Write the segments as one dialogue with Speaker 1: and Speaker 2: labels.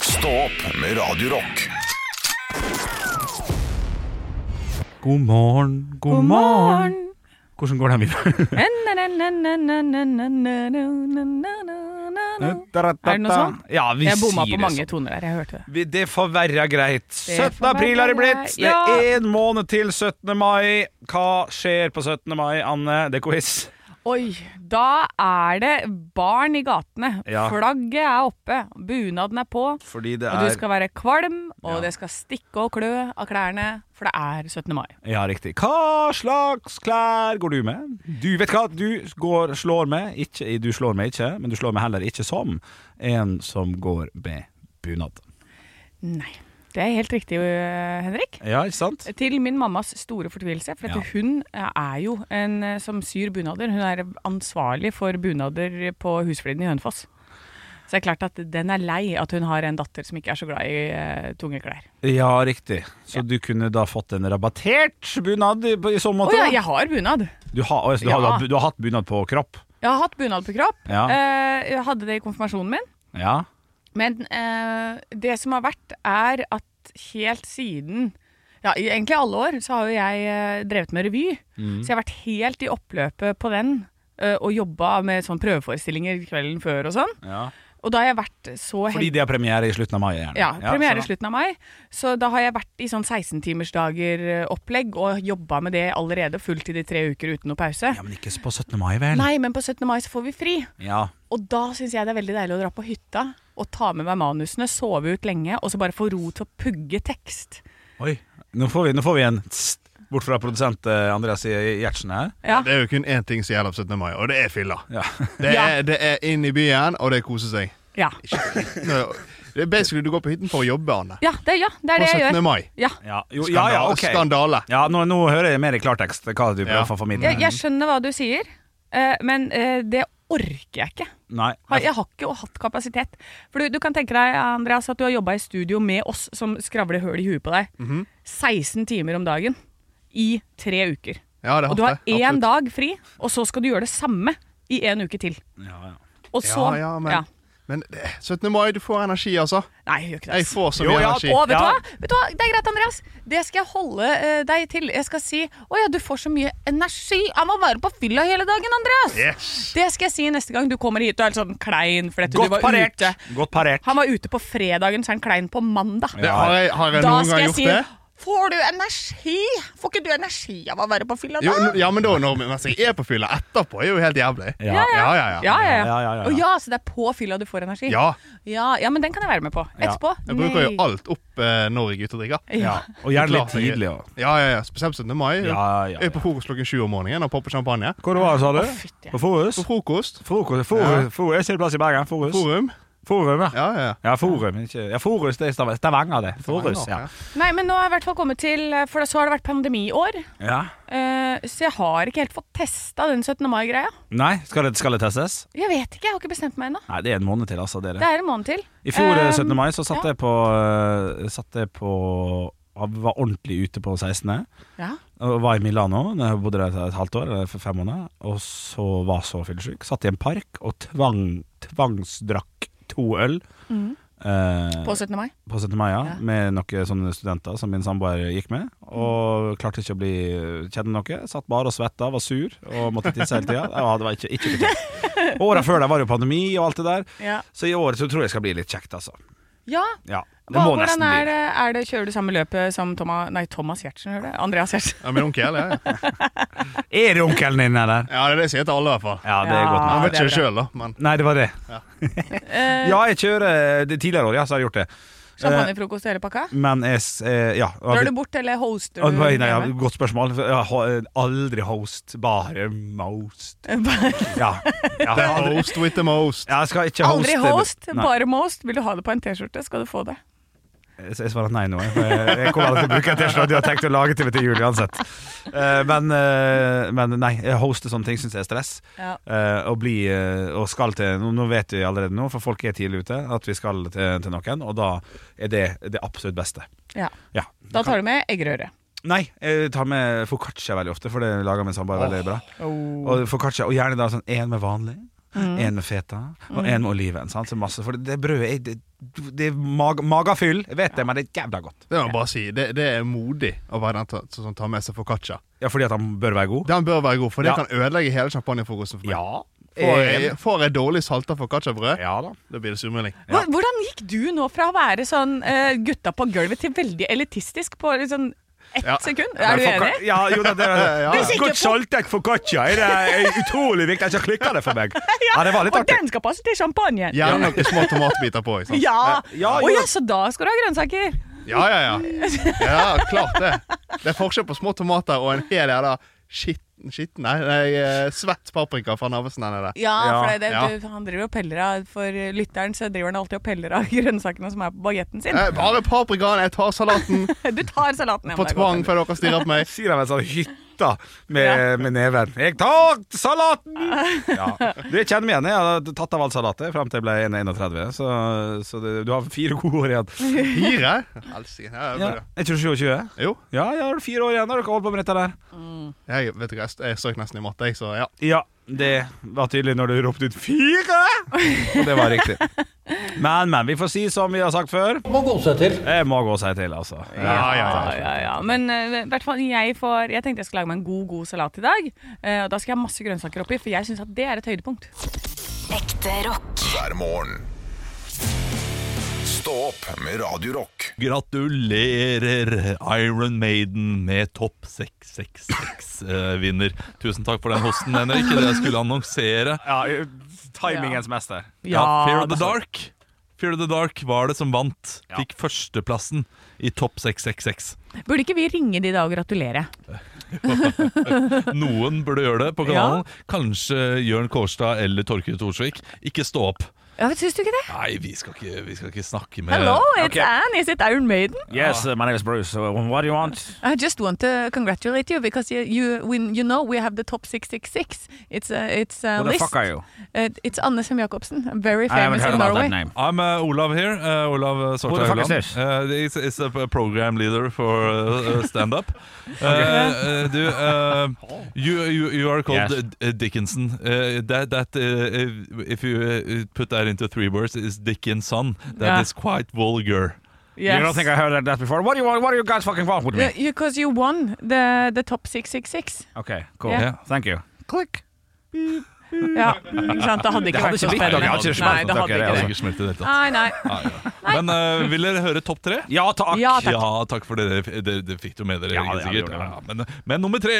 Speaker 1: Stå opp med Radio Rock.
Speaker 2: God morgen, god,
Speaker 3: God
Speaker 2: morgen.
Speaker 3: morgen.
Speaker 2: Hvordan går det her middag?
Speaker 3: Na-na-na-na-na-na-na-na-na-na. Er det noe sånt?
Speaker 2: Ja, vi
Speaker 3: Jeg bomma
Speaker 2: sier
Speaker 3: på
Speaker 2: det
Speaker 3: mange
Speaker 2: sånn.
Speaker 3: toner der. Jeg hørte det.
Speaker 2: Vi- Det får være greit. 17.
Speaker 3: får
Speaker 2: april har det
Speaker 3: være
Speaker 2: blitt.
Speaker 3: greit.
Speaker 2: Det
Speaker 3: Ja.
Speaker 2: er én måned til 17. mai. Hva skjer på 17. mai, Anne? Det er quiz.
Speaker 3: Oi, da er det barn i gatene.
Speaker 2: Ja.
Speaker 3: Flagget er oppe, bunaden er på.
Speaker 2: Fordi det
Speaker 3: Og
Speaker 2: er
Speaker 3: du skal være kvalm, og
Speaker 2: Ja.
Speaker 3: det skal stikke og klø av klærne, for det er 17. mai.
Speaker 2: Ja, riktig. Hva slags klær går du med? Du vet hva, du går, slår med ikke, Du slår meg ikke, men du slår meg heller ikke som en som går med bunad.
Speaker 3: Nei. Det er helt riktig, øh, Henrik.
Speaker 2: Ja, ikke sant?
Speaker 3: Til min mammas store fortvilelse, for at
Speaker 2: Ja.
Speaker 3: hun eh, er jo en eh, som syr bunader. Hun er ansvarlig for bunader på Husfliden i Hønefoss. Så det er klart at den er lei at hun har en datter som ikke er så glad i eh, tunge klær.
Speaker 2: Ja, riktig. Så du kunne da fått en rabattert bunad i, i så
Speaker 3: Å
Speaker 2: måte?
Speaker 3: ja,
Speaker 2: da?
Speaker 3: jeg har bunad!
Speaker 2: Du, har, altså, du, har, du,
Speaker 3: Ja.
Speaker 2: har, du har hatt bunad på kropp?
Speaker 3: Jeg har hatt bunad på kropp.
Speaker 2: Ja.
Speaker 3: Eh, jeg hadde det i konfirmasjonen min.
Speaker 2: Ja.
Speaker 3: Men eh, det som har vært, er at helt siden ja, i Egentlig alle år så har jo jeg eh, drevet med revy.
Speaker 2: Mm.
Speaker 3: Så jeg har vært helt i oppløpet på den. eh, og jobba med sånn prøveforestillinger kvelden før og sånn.
Speaker 2: ja.
Speaker 3: Og da har jeg vært så
Speaker 2: Fordi
Speaker 3: heldig
Speaker 2: de har premiere i slutten av mai? Gjerne.
Speaker 3: ja, premiere i
Speaker 2: så-
Speaker 3: slutten av mai. Så da har jeg vært i sånn 16-timersdager-opplegg og jobba med det allerede fulltid i tre uker uten noe pause.
Speaker 2: Ja, men ikke på 17. mai, vel?
Speaker 3: Nei, men på 17. mai så får vi fri.
Speaker 2: Ja.
Speaker 3: Og da syns jeg det er veldig deilig å dra på hytta og ta med meg manusene, sove ut lenge, og så bare få ro til å pugge tekst.
Speaker 2: Oi. Nå får vi, nå får vi en tst bort fra produsent eh, Andreas Gjertsen her.
Speaker 3: Ja.
Speaker 4: Det er jo kun én ting som gjelder på 17. mai, og det er fylla.
Speaker 2: Ja.
Speaker 4: Det
Speaker 3: Ja.
Speaker 4: er, det er inn i byen, og det er kose seg.
Speaker 3: Ja,
Speaker 4: Det er basically du går på hytten for å jobbe, Anne.
Speaker 3: ja, det, ja, det er
Speaker 4: På
Speaker 3: det
Speaker 4: 17.
Speaker 3: jeg gjør.
Speaker 4: mai.
Speaker 3: Ja.
Speaker 2: Ja, jo, ja,
Speaker 4: Skandale.
Speaker 2: ja, ok.
Speaker 4: Skandale.
Speaker 2: Ja, nå, nå hører jeg mer i klartekst hva du prøver
Speaker 4: Ja.
Speaker 2: å formidle.
Speaker 3: Jeg,
Speaker 4: Mm.
Speaker 3: jeg skjønner hva du sier, eh, men eh, det orker jeg ikke.
Speaker 2: Nei.
Speaker 3: Har- Jeg har ikke hatt kapasitet. For du, du kan tenke deg, Andreas, at du har jobba i studio med oss som skravler høl i huet på deg.
Speaker 4: Mhm.
Speaker 3: 16 timer om dagen i tre uker.
Speaker 4: Ja, det er
Speaker 3: Og du har
Speaker 4: hardt, det.
Speaker 3: én
Speaker 4: Absolutt.
Speaker 3: dag fri, og så skal du gjøre det samme i en uke til.
Speaker 2: Ja, ja.
Speaker 3: Og så
Speaker 4: Ja, ja, men, men det, 17. mai, du får energi, altså.
Speaker 3: Nei, jeg gjør ikke det.
Speaker 4: Jeg
Speaker 3: ass.
Speaker 4: får så
Speaker 2: Jo,
Speaker 4: mye
Speaker 2: ja,
Speaker 4: energi.
Speaker 3: Og vet,
Speaker 2: Ja.
Speaker 3: du hva? vet du hva? Det er greit, Andreas. Det skal jeg holde eh, deg til. Jeg skal si 'Å ja, du får så mye energi av å være på fylla hele dagen', Andreas.
Speaker 4: Yes.
Speaker 3: Det skal jeg si neste gang du kommer hit og er litt sånn klein fordi at du
Speaker 2: Godt
Speaker 3: var
Speaker 2: parert.
Speaker 3: ute.
Speaker 2: Godt parert.
Speaker 3: Han var ute på fredagen, så er han klein på mandag.
Speaker 4: Det, har jeg, har jeg
Speaker 3: Da
Speaker 4: noen
Speaker 3: skal
Speaker 4: gang
Speaker 3: jeg
Speaker 4: gjort
Speaker 3: si
Speaker 4: det?
Speaker 3: Får du energi? Får ikke du energi av å være på fylla
Speaker 4: Jo,
Speaker 3: da?
Speaker 4: n- ja, men da, når, mens jeg er på fylla etterpå, er jo helt jævlig.
Speaker 2: Ja.
Speaker 4: ja, ja.
Speaker 3: Ja, ja, ja.
Speaker 2: Ja, ja, ja, ja.
Speaker 3: Å ja, så det er på fylla du får energi?
Speaker 4: Ja,
Speaker 3: ja, ja, men den kan jeg være med på.
Speaker 2: Ja.
Speaker 3: Etterpå?
Speaker 4: Jeg bruker jo
Speaker 3: Nei.
Speaker 4: alt opp eh, når jeg er ute og drikker.
Speaker 3: Ja.
Speaker 2: Og gjerne
Speaker 4: Klart
Speaker 2: litt
Speaker 4: jeg-
Speaker 2: tidlig. også.
Speaker 4: Ja, ja, ja. Spesielt 17. mai.
Speaker 2: Ja, ja,
Speaker 4: Jeg er på frokost klokken sju om morgenen og popper champagne.
Speaker 2: Hvor var det, sa
Speaker 3: Å,
Speaker 2: du?
Speaker 3: fytti.
Speaker 2: På Forus?
Speaker 4: På frokost.
Speaker 2: Forus, Forus, Forus. Jeg ser plass i Bergen. Forus.
Speaker 4: Forum.
Speaker 2: Forum, ja.
Speaker 4: Ja, ja, ja.
Speaker 2: Ja, Forum. Ikke. Ja, Forus, det er Stav- Stavanger, det. Forus, ja.
Speaker 3: Nei, men nå har jeg i hvert fall kommet til eh, For så har det vært pandemiår.
Speaker 2: ja.
Speaker 3: eh, så jeg har ikke helt fått testa den 17. mai-greia.
Speaker 2: Nei, skal det, skal det testes?
Speaker 3: Jeg vet ikke, jeg har ikke bestemt meg ennå.
Speaker 2: Nei, det er en måned til, altså, dere.
Speaker 3: Det er en måned til.
Speaker 2: I fjor,
Speaker 3: Eh,
Speaker 2: 17. mai, så satt
Speaker 3: ja.
Speaker 2: jeg på, eh, satt jeg på Var ordentlig ute på 16.
Speaker 3: Eh, Ja.
Speaker 2: Og var i Milano da jeg bodde der et halvt år, eller for fem måneder, og så var så fyllesyk. Satt i en park og tvang, tvangsdrakk to øl. eh,
Speaker 3: Mm. På 17. mai.
Speaker 2: på 17. mai, ja,
Speaker 3: Ja.
Speaker 2: med noen sånne studenter som min samboer gikk med. Og klarte ikke å bli kjenne noe. Satt bare og svetta, var sur og måtte tisse hele tida. Ja, det var ikke, ikke betalt. Åra før det var jo pandemi og alt det der,
Speaker 3: Ja.
Speaker 2: så i år så tror jeg det skal bli litt kjekt, altså.
Speaker 3: ja.
Speaker 2: Ja, det
Speaker 3: Hva,
Speaker 2: må
Speaker 3: hvordan
Speaker 2: nesten bli.
Speaker 3: er det, er det? Kjører du samme løpet som Thomas, nei, Thomas Giertsen? hører du? Andreas Giertsen.
Speaker 4: Ja, min onkel, ja. ja.
Speaker 2: Er det onkelen din der?
Speaker 4: ja det er det jeg sier til alle, i hvert fall.
Speaker 2: Ja, det er godt.
Speaker 3: Ja,
Speaker 2: med.
Speaker 4: Han vet
Speaker 3: det er
Speaker 4: ikke det sjøl, da. Men
Speaker 2: Nei, det var det.
Speaker 3: Eh,
Speaker 2: Ja, jeg kjører det tidligere år, ja, så har jeg gjort det. Eh,
Speaker 3: Champagnefrokost og hele pakka?
Speaker 2: Men jeg s- eh, Ja.
Speaker 3: Drar du bort, eller hoster du?
Speaker 2: Nei, ja,
Speaker 3: hjemme?
Speaker 2: godt spørsmål. Jeg har aldri host, bare most. Ja. Jeg har
Speaker 4: the
Speaker 2: aldri
Speaker 4: host with the most.
Speaker 2: Jeg skal ikke hoste
Speaker 3: Aldri host,
Speaker 2: Nei,
Speaker 3: bare most. Vil du ha det på en T-skjorte, skal du få det.
Speaker 2: Jeg jeg svarer nei nå. jeg. For Jeg jeg kommer aldri til å bruke en T-skjorte du har tenkt å lage til meg til jul uansett. Eh, Men, eh, men nei, jeg hoster sånne ting syns jeg er stress.
Speaker 3: Ja.
Speaker 2: Eh, Og, bli, eh, og skal til nå- Nå vet vi allerede nå, for folk er tidlig ute, at vi skal til, til noen, og da er det det absolutt beste.
Speaker 3: Ja.
Speaker 2: Ja.
Speaker 3: Da tar du med eggerøre.
Speaker 2: Nei, jeg tar med foccaccia veldig ofte, for det lager min samboer veldig bra. Og foccaccia, og gjerne da sånn en med vanlig, en med feta og en med oliven. Sant? Så masse, for det brødet er, det, det er mag, magafyll, jeg vet det, men det er jævla godt.
Speaker 4: Det må jeg bare si. Det, det er modig å være den ta- som tar med seg foccaccia.
Speaker 2: Ja, fordi at han bør være god?
Speaker 4: Den bør være god, for det
Speaker 2: Ja.
Speaker 4: kan ødelegge hele champagnefrokosten for meg.
Speaker 2: Ja.
Speaker 4: Får
Speaker 2: Eh,
Speaker 4: jeg, får jeg dårlig salta foccacciabrød,
Speaker 2: ja da.
Speaker 4: da blir det surmelding.
Speaker 2: Ja.
Speaker 3: Hvor- Hvordan gikk du nå fra å være sånn eh, gutta på gulvet til veldig elitistisk på liksom ett
Speaker 4: Ja.
Speaker 3: sekund? Er du
Speaker 2: Men for-
Speaker 3: enig?
Speaker 2: Ja, jo, det, det,
Speaker 4: ja.
Speaker 2: det,
Speaker 3: er
Speaker 4: Du
Speaker 3: sikker
Speaker 2: Godt
Speaker 3: på-
Speaker 2: saltet foccaccia er, det- er utrolig viktig. Jeg skal klikke det for meg. Ja, det var litt
Speaker 3: Og
Speaker 2: artig.
Speaker 3: den skal passe til champagnen! Ja!
Speaker 4: Gjerne noen små tomatbiter på. Ikke sant?
Speaker 2: Ja,
Speaker 3: Å
Speaker 2: jo.
Speaker 3: ja, så da skal du ha grønnsaker!
Speaker 4: Ja, ja, ja. Ja, Klart det. Det er forskjell på små tomater og en hel jævla skitten skitten, Nei, nei eh, svett paprika fra Narvesen der nede.
Speaker 3: Ja,
Speaker 2: Ja,
Speaker 3: for det, er
Speaker 4: ja.
Speaker 3: det, du, han driver og peller av For lytteren så driver han alltid og peller av grønnsakene som er på bagetten sin.
Speaker 4: Eh, Bare paprikaen. Jeg tar salaten
Speaker 3: Du tar salaten. ja, men
Speaker 4: på
Speaker 3: det er godt.
Speaker 4: tvang før dere stirrer på meg.
Speaker 2: Sier han med sånn hytta med, med neven. 'Jeg tar salaten!' Ja. Du, jeg kjenner meg igjen. Jeg hadde tatt av all salatet fram til jeg ble 31, så, så det, du har fire gode år igjen.
Speaker 4: Fire? Helsike. Ja, det
Speaker 2: Ja.
Speaker 4: er bra.
Speaker 2: Er ikke du 27?
Speaker 4: Jo,
Speaker 2: Ja, ja, har du fire år igjen når dere holder på med dette der.
Speaker 4: jeg vet ikke, jeg st- jeg strøk nesten i matte, jeg, så ja.
Speaker 2: Ja, det var tydelig når du ropte ut 'fire'! Og det var riktig. Men, men. Vi får si som vi har sagt før.
Speaker 5: må gå seg til.
Speaker 2: Jeg må gå seg til, altså.
Speaker 4: Ja, ja, ja.
Speaker 3: Ja, ja, ja. Men eh, i hvert fall jeg får Jeg tenkte jeg skulle lage meg en god, god salat i dag. Eh, og da skal jeg ha masse grønnsaker oppi, for jeg syns at det er et høydepunkt.
Speaker 6: Ekte rock.
Speaker 1: hver morgen. Stå opp med Radio Rock.
Speaker 7: Gratulerer Iron Maiden med topp 666-vinner. eh, Tusen takk for den hosten, Henrik. Det jeg skulle annonsere.
Speaker 2: Ja, timingens mester.
Speaker 7: Ja, Fear of the Dark. Fear of the Dark var det som vant. Fikk førsteplassen i topp 666.
Speaker 3: Burde ikke vi ringe de da og gratulere?
Speaker 7: Noen burde gjøre det på kanalen. Kanskje Jørn Kårstad eller Torkil Thorsvik. Ikke stå opp.
Speaker 3: Ja, Syns du ikke det?
Speaker 7: Nei, vi skal ikke, vi skal ikke snakke med
Speaker 3: Hello, it's
Speaker 2: ok.
Speaker 3: Anne. Is it Iron Maiden?
Speaker 2: Yes, my name is Bruce. What do you want?
Speaker 3: I just want to congratulate you because you, you, when you know we have the top 666. It's a, it's a
Speaker 2: Who the
Speaker 3: list.
Speaker 2: fuck are you?
Speaker 3: Uh, it's Anne Sem Jacobsen. Very
Speaker 2: I haven't
Speaker 3: famous
Speaker 2: heard
Speaker 3: in
Speaker 2: about that
Speaker 3: Norway.
Speaker 2: name.
Speaker 7: I'm uh, Olav here. Uh, Olav uh,
Speaker 2: Who the
Speaker 7: Svartdal
Speaker 2: fuck is
Speaker 7: Høyland.
Speaker 2: this?
Speaker 7: Uh, it's, it's a p- program leader for uh, uh, stand-up. Uh, uh, do, uh, you, you, you are called
Speaker 2: Yes.
Speaker 7: uh, Dickinson. Uh, that that uh, if- if you uh, put that into three words, is Dickinson. That is
Speaker 3: Yeah.
Speaker 7: quite vulgar.
Speaker 3: Yes.
Speaker 2: You don't think I heard that before? What do you want? What do you guys fucking want with me?
Speaker 3: Because you won the, the top 666.
Speaker 2: Okay, cool.
Speaker 3: Yeah.
Speaker 7: Yeah.
Speaker 2: Thank you. Click.
Speaker 3: Ja, ikke sant? Det hadde
Speaker 2: Det
Speaker 3: ikke
Speaker 2: hadde
Speaker 3: vært
Speaker 2: ikke
Speaker 3: så
Speaker 2: blitt noe. Jeg har ikke
Speaker 3: spennende. Nei,
Speaker 2: smakt
Speaker 3: det
Speaker 2: noe,
Speaker 3: hadde
Speaker 2: det,
Speaker 3: ikke
Speaker 2: altså.
Speaker 3: det.
Speaker 7: Ikke smelte i det hele tatt.
Speaker 3: Nei, nei.
Speaker 7: Men uh, vil dere høre topp tre?
Speaker 2: Ja takk.
Speaker 3: Ja, takk.
Speaker 7: Ja, takk for det. Det, det, det fikk du med dere,
Speaker 2: Ja,
Speaker 7: helt
Speaker 2: ja, det
Speaker 7: sikkert.
Speaker 2: gjorde jeg.
Speaker 7: Ja, men, men nummer tre,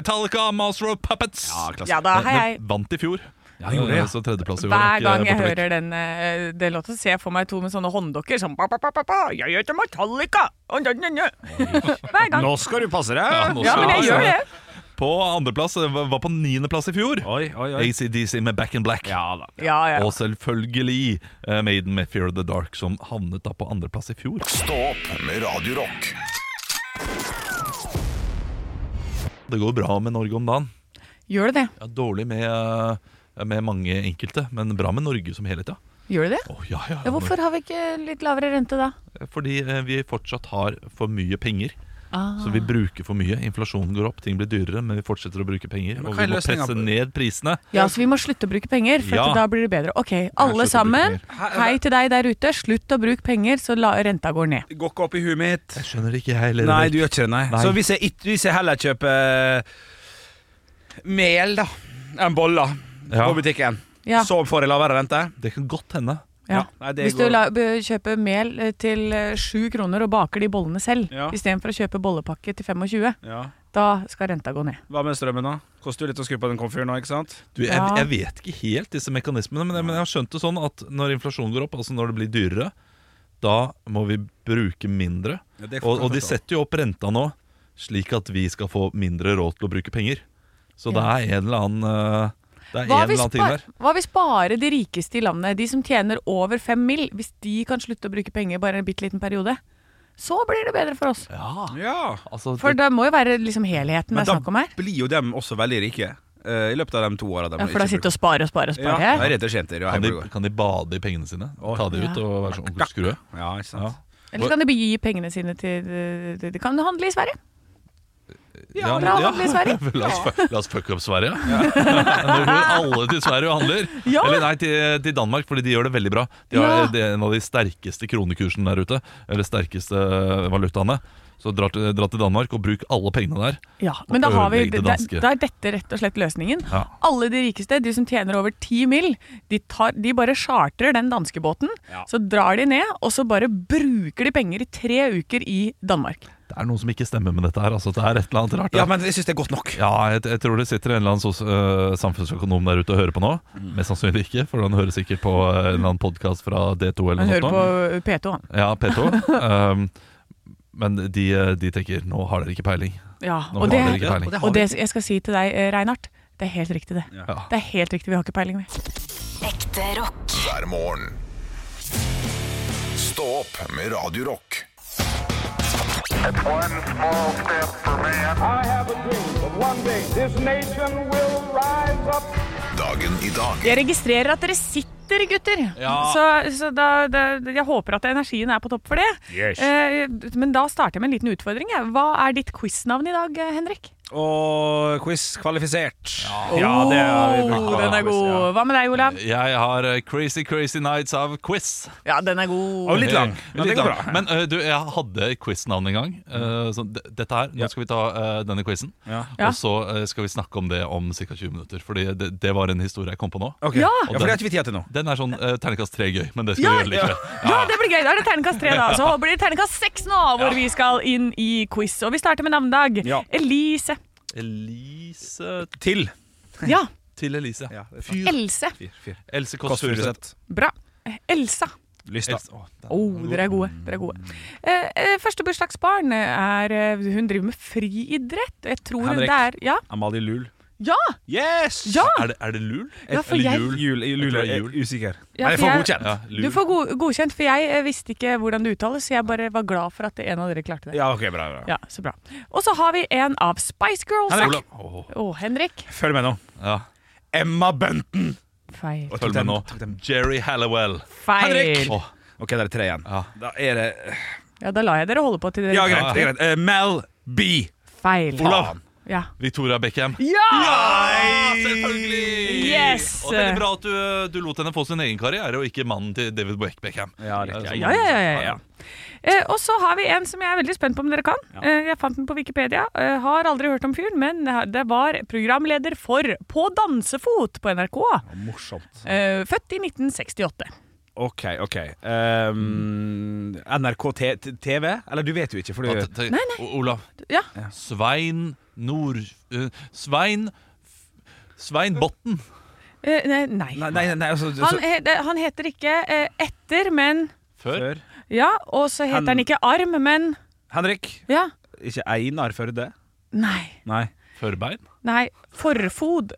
Speaker 7: Metallica, Master of Puppets.
Speaker 2: Ja, klasse.
Speaker 3: Ja da,
Speaker 7: Men-
Speaker 3: hei, hei.
Speaker 7: men Vant i fjor. Eh,
Speaker 2: Ja, gjorde det, ja.
Speaker 7: Så tredjeplass i år. er
Speaker 3: Hver
Speaker 7: ikke
Speaker 3: gang jeg
Speaker 7: borte vekk.
Speaker 3: hører den eh, det låta, ser jeg for meg to med sånne hånddokker som ba, ba, ba, ba, ba, Jeg heter Metallica! Og da, da, da. Hver gang.
Speaker 2: Nå skal du passe deg.
Speaker 7: Ja, nå
Speaker 3: Ja,
Speaker 7: skal
Speaker 3: men jeg
Speaker 7: Ja,
Speaker 3: gjør det.
Speaker 7: På andreplass, eh, var var på niendeplass i fjor.
Speaker 2: Oi, oi, oi.
Speaker 7: ACDC med Back in Black.
Speaker 2: Ja da.
Speaker 3: Ja, ja.
Speaker 7: Og selvfølgelig eh, Maiden med Fear of the Dark, som havnet da på andreplass i fjor.
Speaker 1: Stå opp med Radio Rock.
Speaker 7: Det går bra med Norge om dagen.
Speaker 3: Gjør du det?
Speaker 7: Ja, dårlig med, eh, med mange enkelte, men bra med Norge som helhet, ja.
Speaker 3: Gjør du det?
Speaker 7: Å, ja, ja,
Speaker 3: Ja, hvorfor har vi ikke litt lavere rente da?
Speaker 7: Fordi eh, vi fortsatt har for mye penger.
Speaker 3: Ah.
Speaker 7: Så vi bruker for mye. Inflasjonen går opp, ting blir dyrere, men vi fortsetter å bruke penger.
Speaker 2: Men
Speaker 7: Og
Speaker 2: hva er
Speaker 7: vi må
Speaker 2: løsningen
Speaker 7: presse
Speaker 2: på-
Speaker 7: ned prisene.
Speaker 3: Ja, så vi må slutte å bruke penger, for
Speaker 7: Ja.
Speaker 3: at da blir det bedre. Ok, alle
Speaker 7: slutte å
Speaker 3: sammen,
Speaker 7: bruke
Speaker 3: hei til deg der ute. Slutt å bruke penger, så la, renta går ned.
Speaker 2: Det går ikke opp i huet mitt.
Speaker 7: Jeg skjønner ikke, jeg heller.
Speaker 2: Nei, du gjør ikke det, nei.
Speaker 7: Nei.
Speaker 2: Så hvis jeg, ikke- hvis jeg heller kjøper eh, mel, da, enn boller
Speaker 7: Ja.
Speaker 2: på butikken,
Speaker 3: Ja,
Speaker 2: så får jeg lavere rente?
Speaker 7: Det kan godt hende.
Speaker 3: ja.
Speaker 2: Nei, det
Speaker 3: Hvis du
Speaker 2: går-
Speaker 3: la, b- kjøper mel eh, til eh, 7 kroner og baker de bollene selv,
Speaker 2: Ja.
Speaker 3: istedenfor å kjøpe bollepakke til 25,
Speaker 2: ja.
Speaker 3: da skal renta gå ned.
Speaker 2: Hva med strømmen, da? Koster jo litt å skru på den komfyren nå, ikke sant?
Speaker 7: Du, jeg,
Speaker 3: Ja.
Speaker 7: jeg vet ikke helt disse mekanismene, men jeg, men jeg har skjønt det sånn at når inflasjonen går opp, altså når det blir dyrere, da må vi bruke mindre. Og, og de setter jo opp renta nå, slik at vi skal få mindre råd til å bruke penger. Så det
Speaker 3: Ja.
Speaker 7: er en eller annen eh, Det er en
Speaker 3: Hva
Speaker 7: eller
Speaker 3: hvis,
Speaker 7: annen ting
Speaker 3: ba-
Speaker 7: der.
Speaker 3: hva hvis bare de rikeste i landet, de som tjener over 5 mill., hvis de kan slutte å bruke penger bare en bitte liten periode, så blir det bedre for oss.
Speaker 7: Ja,
Speaker 2: Ja.
Speaker 7: altså
Speaker 3: For det må jo være liksom helheten
Speaker 2: Men
Speaker 3: det er
Speaker 2: da
Speaker 3: snakk om her.
Speaker 2: blir jo dem også veldig rike eh, i løpet av de to åra.
Speaker 3: Ja, for da sitter og sparer og sparer og
Speaker 2: ja,
Speaker 3: sparer.
Speaker 2: det er rett og slett det, ja,
Speaker 7: kan, de,
Speaker 2: jeg går.
Speaker 7: kan de bade i pengene sine?
Speaker 2: Oi.
Speaker 7: Ta de ut
Speaker 3: Ja.
Speaker 7: og være sånn onkel Skrue?
Speaker 2: Ja, ikke sant.
Speaker 7: Ja.
Speaker 3: Eller så kan de gi pengene sine til De, de kan handle i Sverige. Ja, bra handle i Sverige.
Speaker 7: La oss, fu- la oss fucke opp Sverige. Nå går alle til Sverige og handler.
Speaker 3: Ja.
Speaker 7: Eller nei, til, til Danmark, fordi de gjør det veldig bra. De har,
Speaker 3: Ja.
Speaker 7: Det er en av de sterkeste kronekursene der ute. Eller sterkeste eh, valutaene. Så dra til, dra til Danmark og bruk alle pengene der.
Speaker 3: Ja, men da, har vi,
Speaker 7: ødelegge det
Speaker 3: da,
Speaker 7: danske.
Speaker 3: da er dette rett og slett løsningen.
Speaker 7: Ja.
Speaker 3: Alle de rikeste, de som tjener over 10 mil, de, tar, de bare chartrer den danske båten, så drar de ned, og så bare bruker de penger i tre uker i Danmark.
Speaker 7: Det er noe som ikke stemmer med dette her. Altså, det er et eller annet rart.
Speaker 2: Ja, men jeg syns det er godt nok.
Speaker 7: Ja, jeg, jeg tror det sitter en eller annen sos, øh, samfunnsøkonom der ute og hører på nå.
Speaker 2: Mm.
Speaker 7: Mest sannsynlig ikke, for han hører sikkert på øh, en eller annen podkast fra D2 eller
Speaker 3: Han
Speaker 7: noe
Speaker 3: hører
Speaker 7: sånt.
Speaker 3: på
Speaker 7: nå.
Speaker 3: P2, han.
Speaker 7: Ja, P2. um, men de, øh, de tenker 'nå har dere ikke peiling'.
Speaker 3: Ja,
Speaker 7: Nå
Speaker 3: og
Speaker 7: har
Speaker 3: det,
Speaker 7: dere ikke peiling.
Speaker 3: og det jeg skal si til deg, eh, Reinhardt, det er helt riktig, det.
Speaker 7: Ja.
Speaker 3: Det er helt riktig, vi har ikke peiling, vi.
Speaker 6: Ekte rock.
Speaker 1: hver morgen. Stå opp med Radio Rock.
Speaker 5: One small step for man.
Speaker 8: I have a dream that one day this nation will rise up.
Speaker 1: Dagen i dag
Speaker 3: Jeg registrerer at dere sitter, gutter.
Speaker 7: Ja.
Speaker 3: Så, så da, da, jeg håper at energien er på topp for det. Eh, men da starter jeg med en liten utfordring. Jeg. Hva er ditt quiznavn i dag, eh, Henrik?
Speaker 2: Og quiz kvalifisert. Ja,
Speaker 3: Oh, den er god. Hva med deg, Olav?
Speaker 7: Jeg har øh, 'Crazy Crazy Nights of Quiz'.
Speaker 3: Ja, den er god.
Speaker 2: Og litt lang.
Speaker 7: Eh,
Speaker 2: Men det
Speaker 7: litt
Speaker 2: går
Speaker 7: lang.
Speaker 2: bra.
Speaker 7: Men øh, du, jeg hadde quiz-navn en gang. Eh, så d- dette her, Nå
Speaker 2: Ja.
Speaker 7: skal vi ta øh, denne quizen.
Speaker 2: Ja.
Speaker 3: Ja.
Speaker 7: Og så øh, skal vi snakke om det om ca. 20 minutter. Fordi det, det var en historie jeg kom på nå.
Speaker 2: Ok.
Speaker 3: Ja.
Speaker 2: for det har ikke vi tid til nå.
Speaker 7: Den er sånn uh, terningkast tre gøy, men det skal
Speaker 3: Ja,
Speaker 7: vi gjøre likevel.
Speaker 3: Ja, det blir gøy. Da er det terningkast tre, da. Så blir det terningkast seks nå, hvor vi skal inn i quiz. Og vi starter med navnedag.
Speaker 2: Ja.
Speaker 3: Elise.
Speaker 7: Elise
Speaker 2: Til.
Speaker 3: Ja.
Speaker 7: til Elise.
Speaker 2: Ja, det er
Speaker 7: Fyr.
Speaker 3: Else.
Speaker 7: Else Kåss
Speaker 2: Kåss
Speaker 7: Furuseth.
Speaker 2: Furuseth.
Speaker 3: Bra. Elsa.
Speaker 2: Lysta.
Speaker 7: Else- Å, den-
Speaker 3: Å, dere er gode. Dere er gode. Eh, eh, første bursdagsbarn er eh, Hun driver med friidrett. Jeg tror hun
Speaker 2: Henrik.
Speaker 3: det er Ja!
Speaker 2: Amalie Lul.
Speaker 3: Ja!
Speaker 2: Yes!
Speaker 3: ja,
Speaker 7: Er det, er det lul?
Speaker 3: Ja, for
Speaker 7: Eller
Speaker 3: jeg-
Speaker 7: jul?
Speaker 2: Jul,
Speaker 7: Jeg
Speaker 2: jul
Speaker 7: tror
Speaker 2: er
Speaker 7: det er jul.
Speaker 2: usikker.
Speaker 3: Ja,
Speaker 2: Nei,
Speaker 3: for
Speaker 2: får
Speaker 3: jeg-
Speaker 2: godkjent.
Speaker 7: Ja, lul.
Speaker 3: Du får go godkjent, for jeg eh, visste ikke hvordan det uttales, så jeg bare var glad for at en av dere klarte det.
Speaker 2: Ja, ok, bra, bra.
Speaker 3: Ja, så bra. Og så har vi en av Spice Girls.
Speaker 2: Henrik.
Speaker 7: Åh,
Speaker 3: Å, Henrik.
Speaker 2: Følg med nå.
Speaker 7: ja.
Speaker 2: Emma Bunton.
Speaker 3: Feil.
Speaker 7: Følg med nå. Jerry Hallowell.
Speaker 3: Feil.
Speaker 7: Åh,
Speaker 2: Ok, der er tre igjen.
Speaker 7: Ja.
Speaker 2: Da er det
Speaker 3: Ja, da lar jeg dere holde på til dere
Speaker 2: Ja, greit. det er greit. Eh, Mel B.
Speaker 3: Feil.
Speaker 7: Olav.
Speaker 3: Ja.
Speaker 7: Victoria Beckham. Selvfølgelig!
Speaker 3: Yes!
Speaker 7: Og Veldig bra at du, du lot henne få sin egen karriere, og ikke mannen til David Beck- Beckham.
Speaker 2: Ja, riktig.
Speaker 3: Ja, ja, ja, ja, ja. Eh, og så har vi en som jeg er veldig spent på om dere kan. Eh, jeg fant den på Wikipedia. Eh, har aldri hørt om fyren, men det var programleder for På dansefot på NRK.
Speaker 2: Morsomt.
Speaker 3: Eh, født i 1968.
Speaker 2: OK, OK. Um, NRK T- T- TV? Eller du vet jo ikke, for
Speaker 7: Ja,
Speaker 2: du
Speaker 7: te- te- O- Olav.
Speaker 3: Ja.
Speaker 7: Svein Nord... eh, Svein F- Svein Botten.
Speaker 3: Eh, nei, nei.
Speaker 2: Nei, nei, nei altså, så-
Speaker 3: Han, he, det- han heter ikke eh, Etter, men
Speaker 7: Før?
Speaker 2: Før.
Speaker 3: Ja, og så heter
Speaker 2: Han-
Speaker 3: han ikke Arm, men
Speaker 2: Henrik.
Speaker 3: Ja.
Speaker 2: Ikke Einar Førde?
Speaker 3: Nei.
Speaker 2: Nei.
Speaker 7: Førbein?
Speaker 3: Nei. Forfod.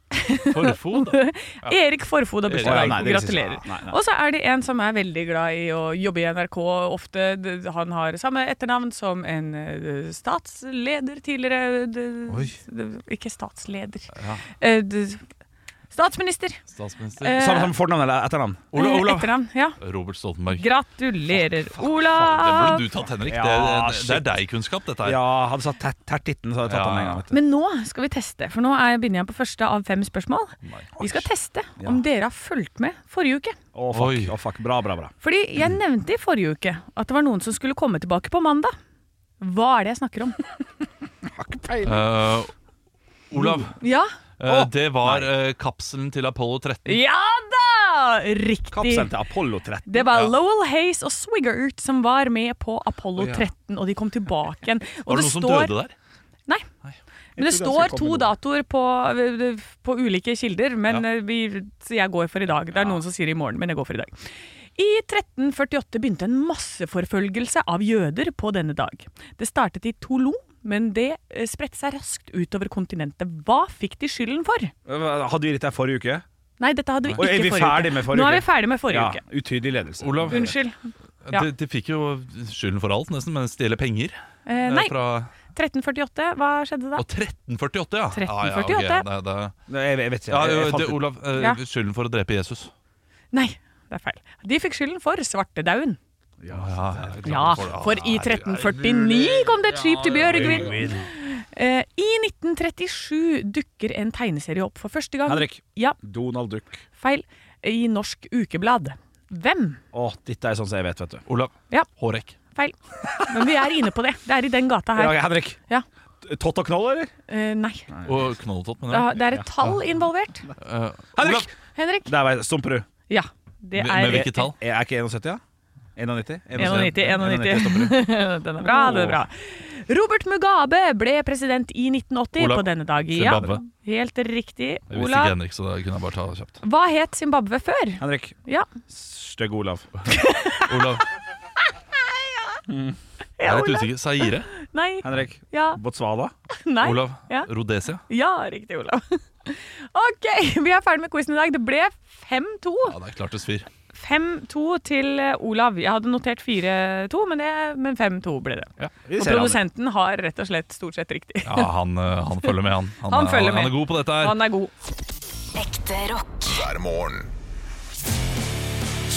Speaker 7: Forfod?
Speaker 3: Erik Forfod har
Speaker 7: Erik,
Speaker 3: bursdag
Speaker 2: nei,
Speaker 3: i dag.
Speaker 2: det visste jeg
Speaker 3: Gratulerer.
Speaker 2: ikke. Nei, nei.
Speaker 3: Og så er det en som er veldig glad i å jobbe i NRK ofte. D- Han har samme etternavn som en eh, statsleder tidligere D-
Speaker 7: Oi.
Speaker 3: d- Ikke statsleder.
Speaker 7: Ja.
Speaker 3: Eh, d- Statsminister.
Speaker 7: Statsminister?
Speaker 3: Eh,
Speaker 2: Samme som fornavn eller etternavn?
Speaker 7: Olav,
Speaker 3: eh,
Speaker 7: Olav.
Speaker 3: Etternavn. Ja.
Speaker 7: Robert Stoltenberg.
Speaker 3: Gratulerer,
Speaker 7: Det
Speaker 3: Olav!
Speaker 7: burde du tatt, Henrik.
Speaker 2: Ja,
Speaker 7: det, det, det
Speaker 2: shit.
Speaker 7: er deg-kunnskap, dette her.
Speaker 2: Ja, hadde sagt tert- tertitten, så hadde jeg tatt
Speaker 7: Ja.
Speaker 2: den en gang. Vet du.
Speaker 3: Men nå skal vi teste, for nå er jeg begynner jeg på første av fem spørsmål.
Speaker 7: Oh
Speaker 3: Vi skal teste om dere har fulgt med forrige uke.
Speaker 2: Å, fuck.
Speaker 7: Oi.
Speaker 2: å, fuck. Bra, bra, bra.
Speaker 3: Fordi jeg
Speaker 7: Mm.
Speaker 3: nevnte i forrige uke at det var noen som skulle komme tilbake på mandag. Hva er det jeg snakker om?
Speaker 7: Eh, Olav,
Speaker 2: Mm.
Speaker 3: Ja,
Speaker 7: eh, det var eh, kapselen til Apollo 13.
Speaker 3: ja da! Riktig.
Speaker 2: Kapselen til Apollo 13.
Speaker 3: Det var Lowell Hayes og Swigert som var med på Apollo 13, og de kom tilbake igjen. Og
Speaker 7: Var det noen som døde der?
Speaker 3: Nei. Men det står to datoer på, på ulike kilder, men eh, vi, så jeg går for i dag. Det er noen som sier i morgen, men jeg går for i dag. I 1348 begynte en masseforfølgelse av jøder på denne dag. Det startet i Toulon, men det eh, spredte seg raskt utover kontinentet. Hva fikk de skylden for?
Speaker 2: Hadde vi dette her forrige uke?
Speaker 3: Nei, dette hadde vi
Speaker 2: Og
Speaker 3: ikke
Speaker 2: er vi
Speaker 3: forrige
Speaker 2: ferdig
Speaker 3: uke.
Speaker 2: med forrige
Speaker 3: Nå er vi
Speaker 2: uke?
Speaker 3: ferdig med forrige
Speaker 2: Ja,
Speaker 3: uke.
Speaker 2: Utydig ledelse.
Speaker 7: Olav,
Speaker 3: Unnskyld. ja.
Speaker 7: de, de fikk jo skylden for alt, nesten, men stjele penger.
Speaker 3: Eh,
Speaker 7: eh,
Speaker 3: nei,
Speaker 7: Fra,
Speaker 3: 1348, hva skjedde da?
Speaker 7: og 1348, ja! Ja, ja,
Speaker 3: 1348.
Speaker 7: ok, det, det,
Speaker 2: Nei, jeg, jeg vet ikke.
Speaker 7: ja,
Speaker 2: Jeg, jeg,
Speaker 7: jo,
Speaker 2: fant
Speaker 7: det,
Speaker 2: ut-
Speaker 7: Olav, eh,
Speaker 3: Ja.
Speaker 7: skylden for å drepe Jesus.
Speaker 3: Nei, det er feil. De fikk skylden for svartedauden.
Speaker 7: Ja, Ah, ja,
Speaker 3: Ja, for i 1349 kom det et skip til Bjørgvin. Eh, I 1937 dukker en tegneserie opp for første gang.
Speaker 2: Henrik.
Speaker 3: Ja,
Speaker 2: Donald Duck.
Speaker 3: feil. I Norsk Ukeblad. Hvem?
Speaker 2: Å, dette er sånn som jeg vet, vet du.
Speaker 7: Olav.
Speaker 3: Ja.
Speaker 7: Hårek.
Speaker 3: Feil. Men vi er inne på det. Det er i den gata her.
Speaker 2: Ja, Henrik.
Speaker 3: Ja.
Speaker 2: Tott og knoll, eller?
Speaker 3: Eh, nei.
Speaker 7: Og Knolltott,
Speaker 3: Det
Speaker 7: mener jeg.
Speaker 3: er- det er et tall involvert.
Speaker 7: Eh, Olav,
Speaker 2: Henrik!
Speaker 3: Henrik?
Speaker 2: Der var jeg. Stumperud.
Speaker 3: Ja. Det
Speaker 7: Med-
Speaker 3: er
Speaker 7: med hvilket tall?
Speaker 2: Er er ikke 71, ja? 91?
Speaker 3: 91,
Speaker 2: 91 Stumperud.
Speaker 3: 91. Den er bra, den er bra. Robert Mugabe ble president i 1980
Speaker 7: Olav.
Speaker 3: på denne dag.
Speaker 7: Zimbabwe.
Speaker 3: Ja, helt riktig.
Speaker 7: Jeg visste ikke
Speaker 3: Olav.
Speaker 7: Henrik, så da kunne jeg bare ta det kjapt.
Speaker 3: Hva het Zimbabwe før?
Speaker 2: Henrik.
Speaker 3: Ja.
Speaker 2: Stygg Olav.
Speaker 7: Olav, jeg er litt usikker. Zaire?
Speaker 3: Nei.
Speaker 2: Henrik.
Speaker 3: Ja.
Speaker 2: Botswana.
Speaker 3: Nei.
Speaker 7: Olav?
Speaker 3: Ja.
Speaker 7: Rhodesia?
Speaker 3: Ja, riktig, Olav. OK, vi er ferdig med quizen i dag. Det ble 5-2.
Speaker 7: Ja, det er klart det svir.
Speaker 3: 5-2 til eh, Olav. Jeg hadde notert 4-2, men, det- men 5-2 ble det.
Speaker 2: Vi ser
Speaker 3: Og
Speaker 2: han.
Speaker 3: produsenten har rett og slett stort sett riktig.
Speaker 7: Ja, han, eh, han følger med, han. Han,
Speaker 3: Han
Speaker 7: er-
Speaker 3: følger
Speaker 7: han,
Speaker 3: med.
Speaker 7: er god på dette her.
Speaker 3: Han er god.
Speaker 6: Ekte rock.
Speaker 1: hver morgen.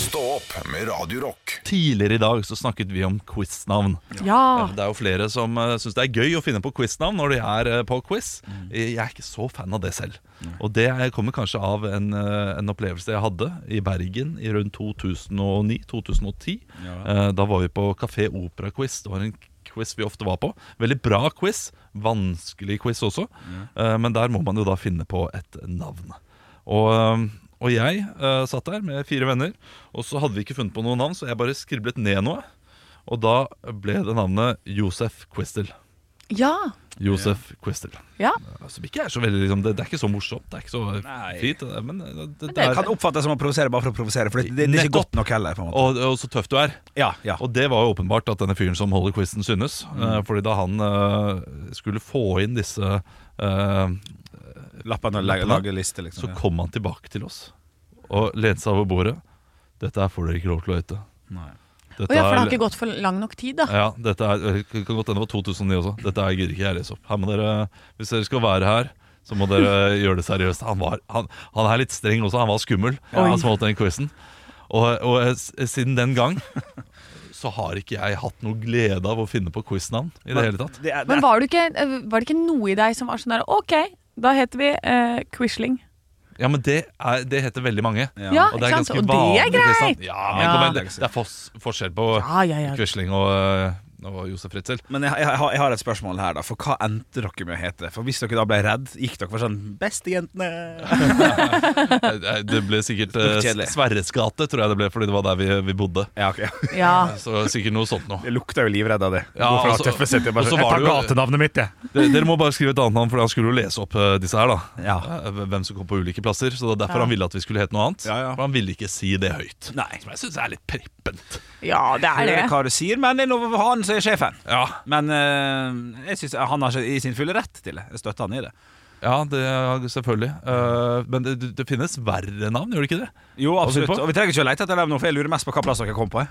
Speaker 1: Stå opp med Radio Rock.
Speaker 7: Tidligere i dag så snakket vi om quiznavn.
Speaker 3: Ja.
Speaker 7: Det er jo flere som uh, syns det er gøy å finne på quiznavn når de er eh, på quiz. Jeg er ikke så fan av det selv. Og det kommer kanskje av en, eh, en opplevelse jeg hadde i Bergen i rundt 2009-2010. Eh, da var vi på Kafé Opera-quiz. Det var en quiz vi ofte var på. Veldig bra quiz. Vanskelig quiz også. Eh, men der må man jo da finne på et navn. Og, øhm, og jeg øh, satt der med fire venner, og så hadde vi ikke funnet på noe navn, så jeg bare skriblet ned noe. Og da ble det navnet Josef Quistel.
Speaker 3: Ja.
Speaker 7: Josef Quistel.
Speaker 3: ja.
Speaker 7: Som ikke er så veldig liksom, det, det er ikke så morsomt, det er ikke så
Speaker 2: Nei.
Speaker 7: fint. det der, Men det, det,
Speaker 3: det
Speaker 2: Det
Speaker 7: er
Speaker 2: kan oppfattes som å provosere bare for å provosere, for det, det, det er ikke
Speaker 7: Nettopp.
Speaker 2: godt nok heller. på en måte
Speaker 7: og, og så tøff du er.
Speaker 2: Ja, ja.
Speaker 7: Og det var jo åpenbart at denne fyren som holder quizen, synes.
Speaker 2: Mm.
Speaker 7: Eh, fordi da han eh, skulle få inn disse eh,
Speaker 2: Lappene og lage, lage liste, liksom.
Speaker 7: Så
Speaker 2: Ja.
Speaker 7: kom han tilbake til oss og lente seg over bordet. Dette her får dere ikke lov til å hete.
Speaker 2: Nei.
Speaker 7: Dette
Speaker 3: Og ja, for det har
Speaker 7: er-
Speaker 3: ikke gått for lang nok tid, da.
Speaker 7: ja, dette er, det kan godt hende det var 2009 også. Dette her gidder ikke jeg lese opp. Her må dere, hvis dere skal være her, så må dere gjøre det seriøst. Han, var, han, han er litt streng også. Han var skummel. Han som holdt den quizen. Og, og eh, s- siden den gang så har ikke jeg hatt noe glede av å finne på quiznavn i det hele tatt.
Speaker 2: Det er, det
Speaker 3: Men
Speaker 2: er,
Speaker 3: var det ikke, eh, var det ikke noe i deg som var sånn der OK, da heter vi eh, Quisling.
Speaker 7: Ja, men det, er, det heter veldig mange.
Speaker 3: Ja, ikke
Speaker 7: Og det er
Speaker 3: sant?
Speaker 7: ganske
Speaker 3: Og det er
Speaker 7: vanlig quiznavn.
Speaker 3: greit!
Speaker 7: Ja, men
Speaker 3: Ja.
Speaker 7: kom igjen, det- det er fors- forskjell på
Speaker 3: Ja, ja, ja.
Speaker 7: Quisling og, eh, og Josef Ritzel.
Speaker 2: men jeg, jeg, har- jeg har et spørsmål her, da. For hva endte dere med å hete? For hvis dere da ble redd, gikk dere for sånn Bestejentene!
Speaker 7: Eh, eh, Det ble sikkert eh,
Speaker 2: Kjedelig.
Speaker 7: Sverres gate, tror jeg det ble, fordi det var der vi, vi bodde.
Speaker 2: Ja, ok.
Speaker 3: Ja.
Speaker 7: Så sikkert noe sånt noe.
Speaker 2: Jeg lukta jo livredd av det.
Speaker 7: Ja,
Speaker 2: Hvorfor har
Speaker 7: altså-
Speaker 2: tøffe sett? Jeg bare
Speaker 7: og så
Speaker 2: sånn, Jeg
Speaker 7: var
Speaker 2: tar
Speaker 7: det jo-
Speaker 2: gatenavnet mitt, jeg.
Speaker 7: Dere, dere må bare skrive et annet navn, for han skulle jo lese opp eh, disse her. da
Speaker 2: Ja.
Speaker 7: Eh, Hvem som kom på ulike plasser. Så det er derfor han ville at vi skulle hete noe annet.
Speaker 2: Ja, ja.
Speaker 7: For han ville ikke si det høyt.
Speaker 2: Nei.
Speaker 7: Som jeg syns er litt prippent.
Speaker 3: ja, det er
Speaker 2: Jeg
Speaker 3: det.
Speaker 2: vet hva du sier, men det er noe for han som er sjefen.
Speaker 7: Ja,
Speaker 2: Men eh, jeg synes han har ikke i sin fulle rett til det. Jeg støtter han i det.
Speaker 7: ja det er selvfølgelig. Eh, men det, det finnes verre navn, gjør det ikke det?
Speaker 2: Jo,
Speaker 7: absolutt.
Speaker 2: absolutt. Og vi trenger ikke å lete etter dem nå, for jeg lurer mest på hva plass dere kom på. jeg.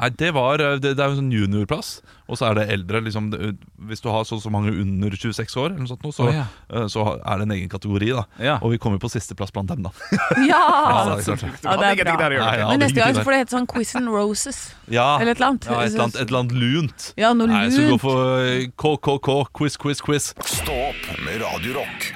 Speaker 7: Nei, Det, var, eh, det, det er jo en sånn juniorplass, og så er det eldre. Liksom, det- hvis du har så, så mange under 26 år, eller noe sånt, nå, så,
Speaker 2: Å, ja.
Speaker 7: eh, så er det en egen kategori. da
Speaker 2: Ja.
Speaker 7: Og vi kommer på sisteplass blant dem, da.
Speaker 3: Ja.
Speaker 7: det er klart.
Speaker 3: Ja, det er bra.
Speaker 7: Nei, ja,
Speaker 3: Men neste
Speaker 7: det er
Speaker 3: gang
Speaker 7: ingenting
Speaker 3: så får det hete sånn Quiz and Roses.
Speaker 7: Ja,
Speaker 3: Eller et eller annet.
Speaker 7: Ja, et eller annet, et eller annet lunt.
Speaker 3: Ja, noe
Speaker 7: Nei, så gå
Speaker 3: lunt.
Speaker 7: for eh, KKK, quiz, quiz, quiz.
Speaker 1: Stå opp med Radio Rock